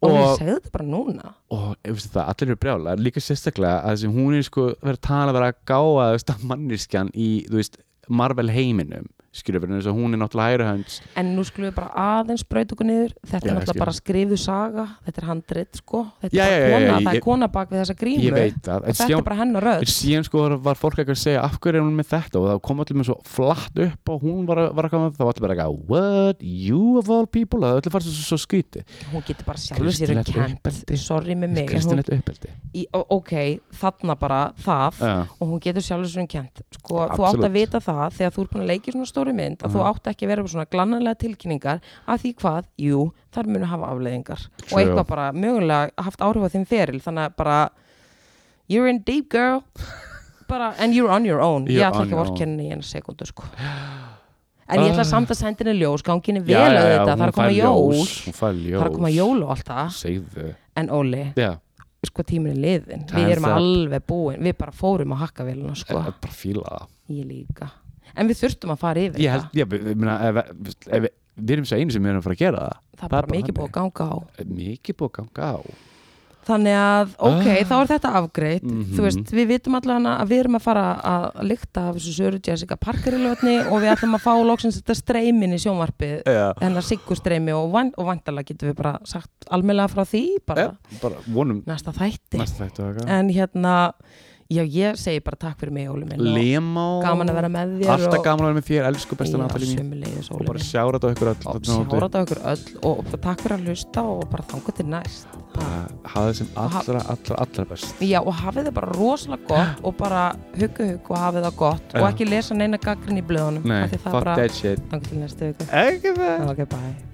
A: og ég
B: Og,
A: segði þetta bara núna
B: og ég veist það, allir eru brjálar líka sérstaklega að þessi hún er sko verið að tala verið að gáa þú veist, að mannirskjan í, þú veist, Marvel heiminum skilur verið, þess að hún er náttúrulega hægra hans
A: En nú skulum við bara aðeins braut okkur niður Þetta
B: Já,
A: er
B: skil.
A: náttúrulega bara skrifu saga Þetta er handrit sko Þetta
B: Já,
A: er bara
B: já, já,
A: kona,
B: já,
A: það
B: ég-
A: er kona bak við þessa grímu
B: ég veit það,
A: Og
B: en
A: Þetta
B: síðan-
A: er bara hennar röð
B: En síðan sko var fólk eitthvað að segja af hverju er hún með þetta og það kom allir með svo flatt upp og hún var, var að koma það var allir bara eitthvað what, you of all people það var allir fannst svo, svo skríti
A: Hún getur bara sjálf sér
B: Kristín,
A: um
B: þetta er uppeldi.
A: kent Sorry með mig en
B: Kristín
A: hún,
B: eitt uppeldi
A: í, ó- Ok, þarna bara það
B: Já.
A: Og hún getur sjálf sér um kent sko, Þú
B: Absolutt. Mhm.
A: átt að vita það þegar þú er búin að leika í svona stóri mynd Að þú átt ekki að vera með svona glannanlega tilkynningar Að því hvað, jú, þar munu hafa afleðingar Og
B: True.
A: eitthvað bara mögulega haft áhrif á þeim feril Þannig að bara You're in deep girl bara, And you're on your own Ég
B: You're
A: ætla
B: on
A: ekki
B: your
A: að
B: own.
A: vorkenni í eina sekundu sko. En ég ætla samt að senda henni ljós Ganginni vel
B: Já, já,
A: að
B: já,
A: þetta,
B: hún
A: það er að koma
B: fær
A: jól
B: hún fær ljós
A: Það er að koma jól og allt það
B: segðu
A: En Óli,
B: já,
A: sko tíminn er liðin
B: Time's
A: Við erum
B: up. Eh,
A: alveg búin, við bara fórum að hakka velina sko.
B: ég bara fíla það
A: Ég líka En við þurftum að fara yfir
B: ég held, ég meina ef- ef- ef- við erum svo einu sem við erum að fara að gera það
A: það Það er bara mikið búið að ganga á
B: ganga mikið búið að ganga á
A: Þannig að, ok,
B: Ah.
A: þá er þetta afgreitt
B: Mhm.
A: Þú veist, við vitum allan að við erum að fara að lykta af þessu Söru Jessica Parker í lötni og við ætlum að fá loksins þetta streymin í sjónvarpið
B: Já.
A: hennar siggustreymi og, van, og vandalega getum við bara sagt almennlega frá því bara
B: Eh, bara vonum
A: næsta þætti
B: næsta þetta að ganga
A: en hérna, já ég segi bara takk fyrir mig Óli minn og
B: Lemá
A: gaman að vera með þér
B: alltaf
A: og-
B: gaman að vera með þér elsku besta Natalie mín
A: Já, sömuleiðis
B: og
A: Óli
B: bara
A: minn
B: sjára þetta á ykkur öll
A: og
B: þarna úti.
A: sjárat á ykkur öll og takk fyrir að hlusta og bara þanga til næst
B: bara hafa það sem allra, allra, allra best
A: já og hafið það bara rosalega gott og bara huggu huggu og hafið það gott og
B: Já.
A: ekki lesa neina gaggrin í blöðunum
B: nei,
A: af því það
B: fuck
A: bara
B: that shit
A: þanga til næstu viku
B: ekki það
A: ok bye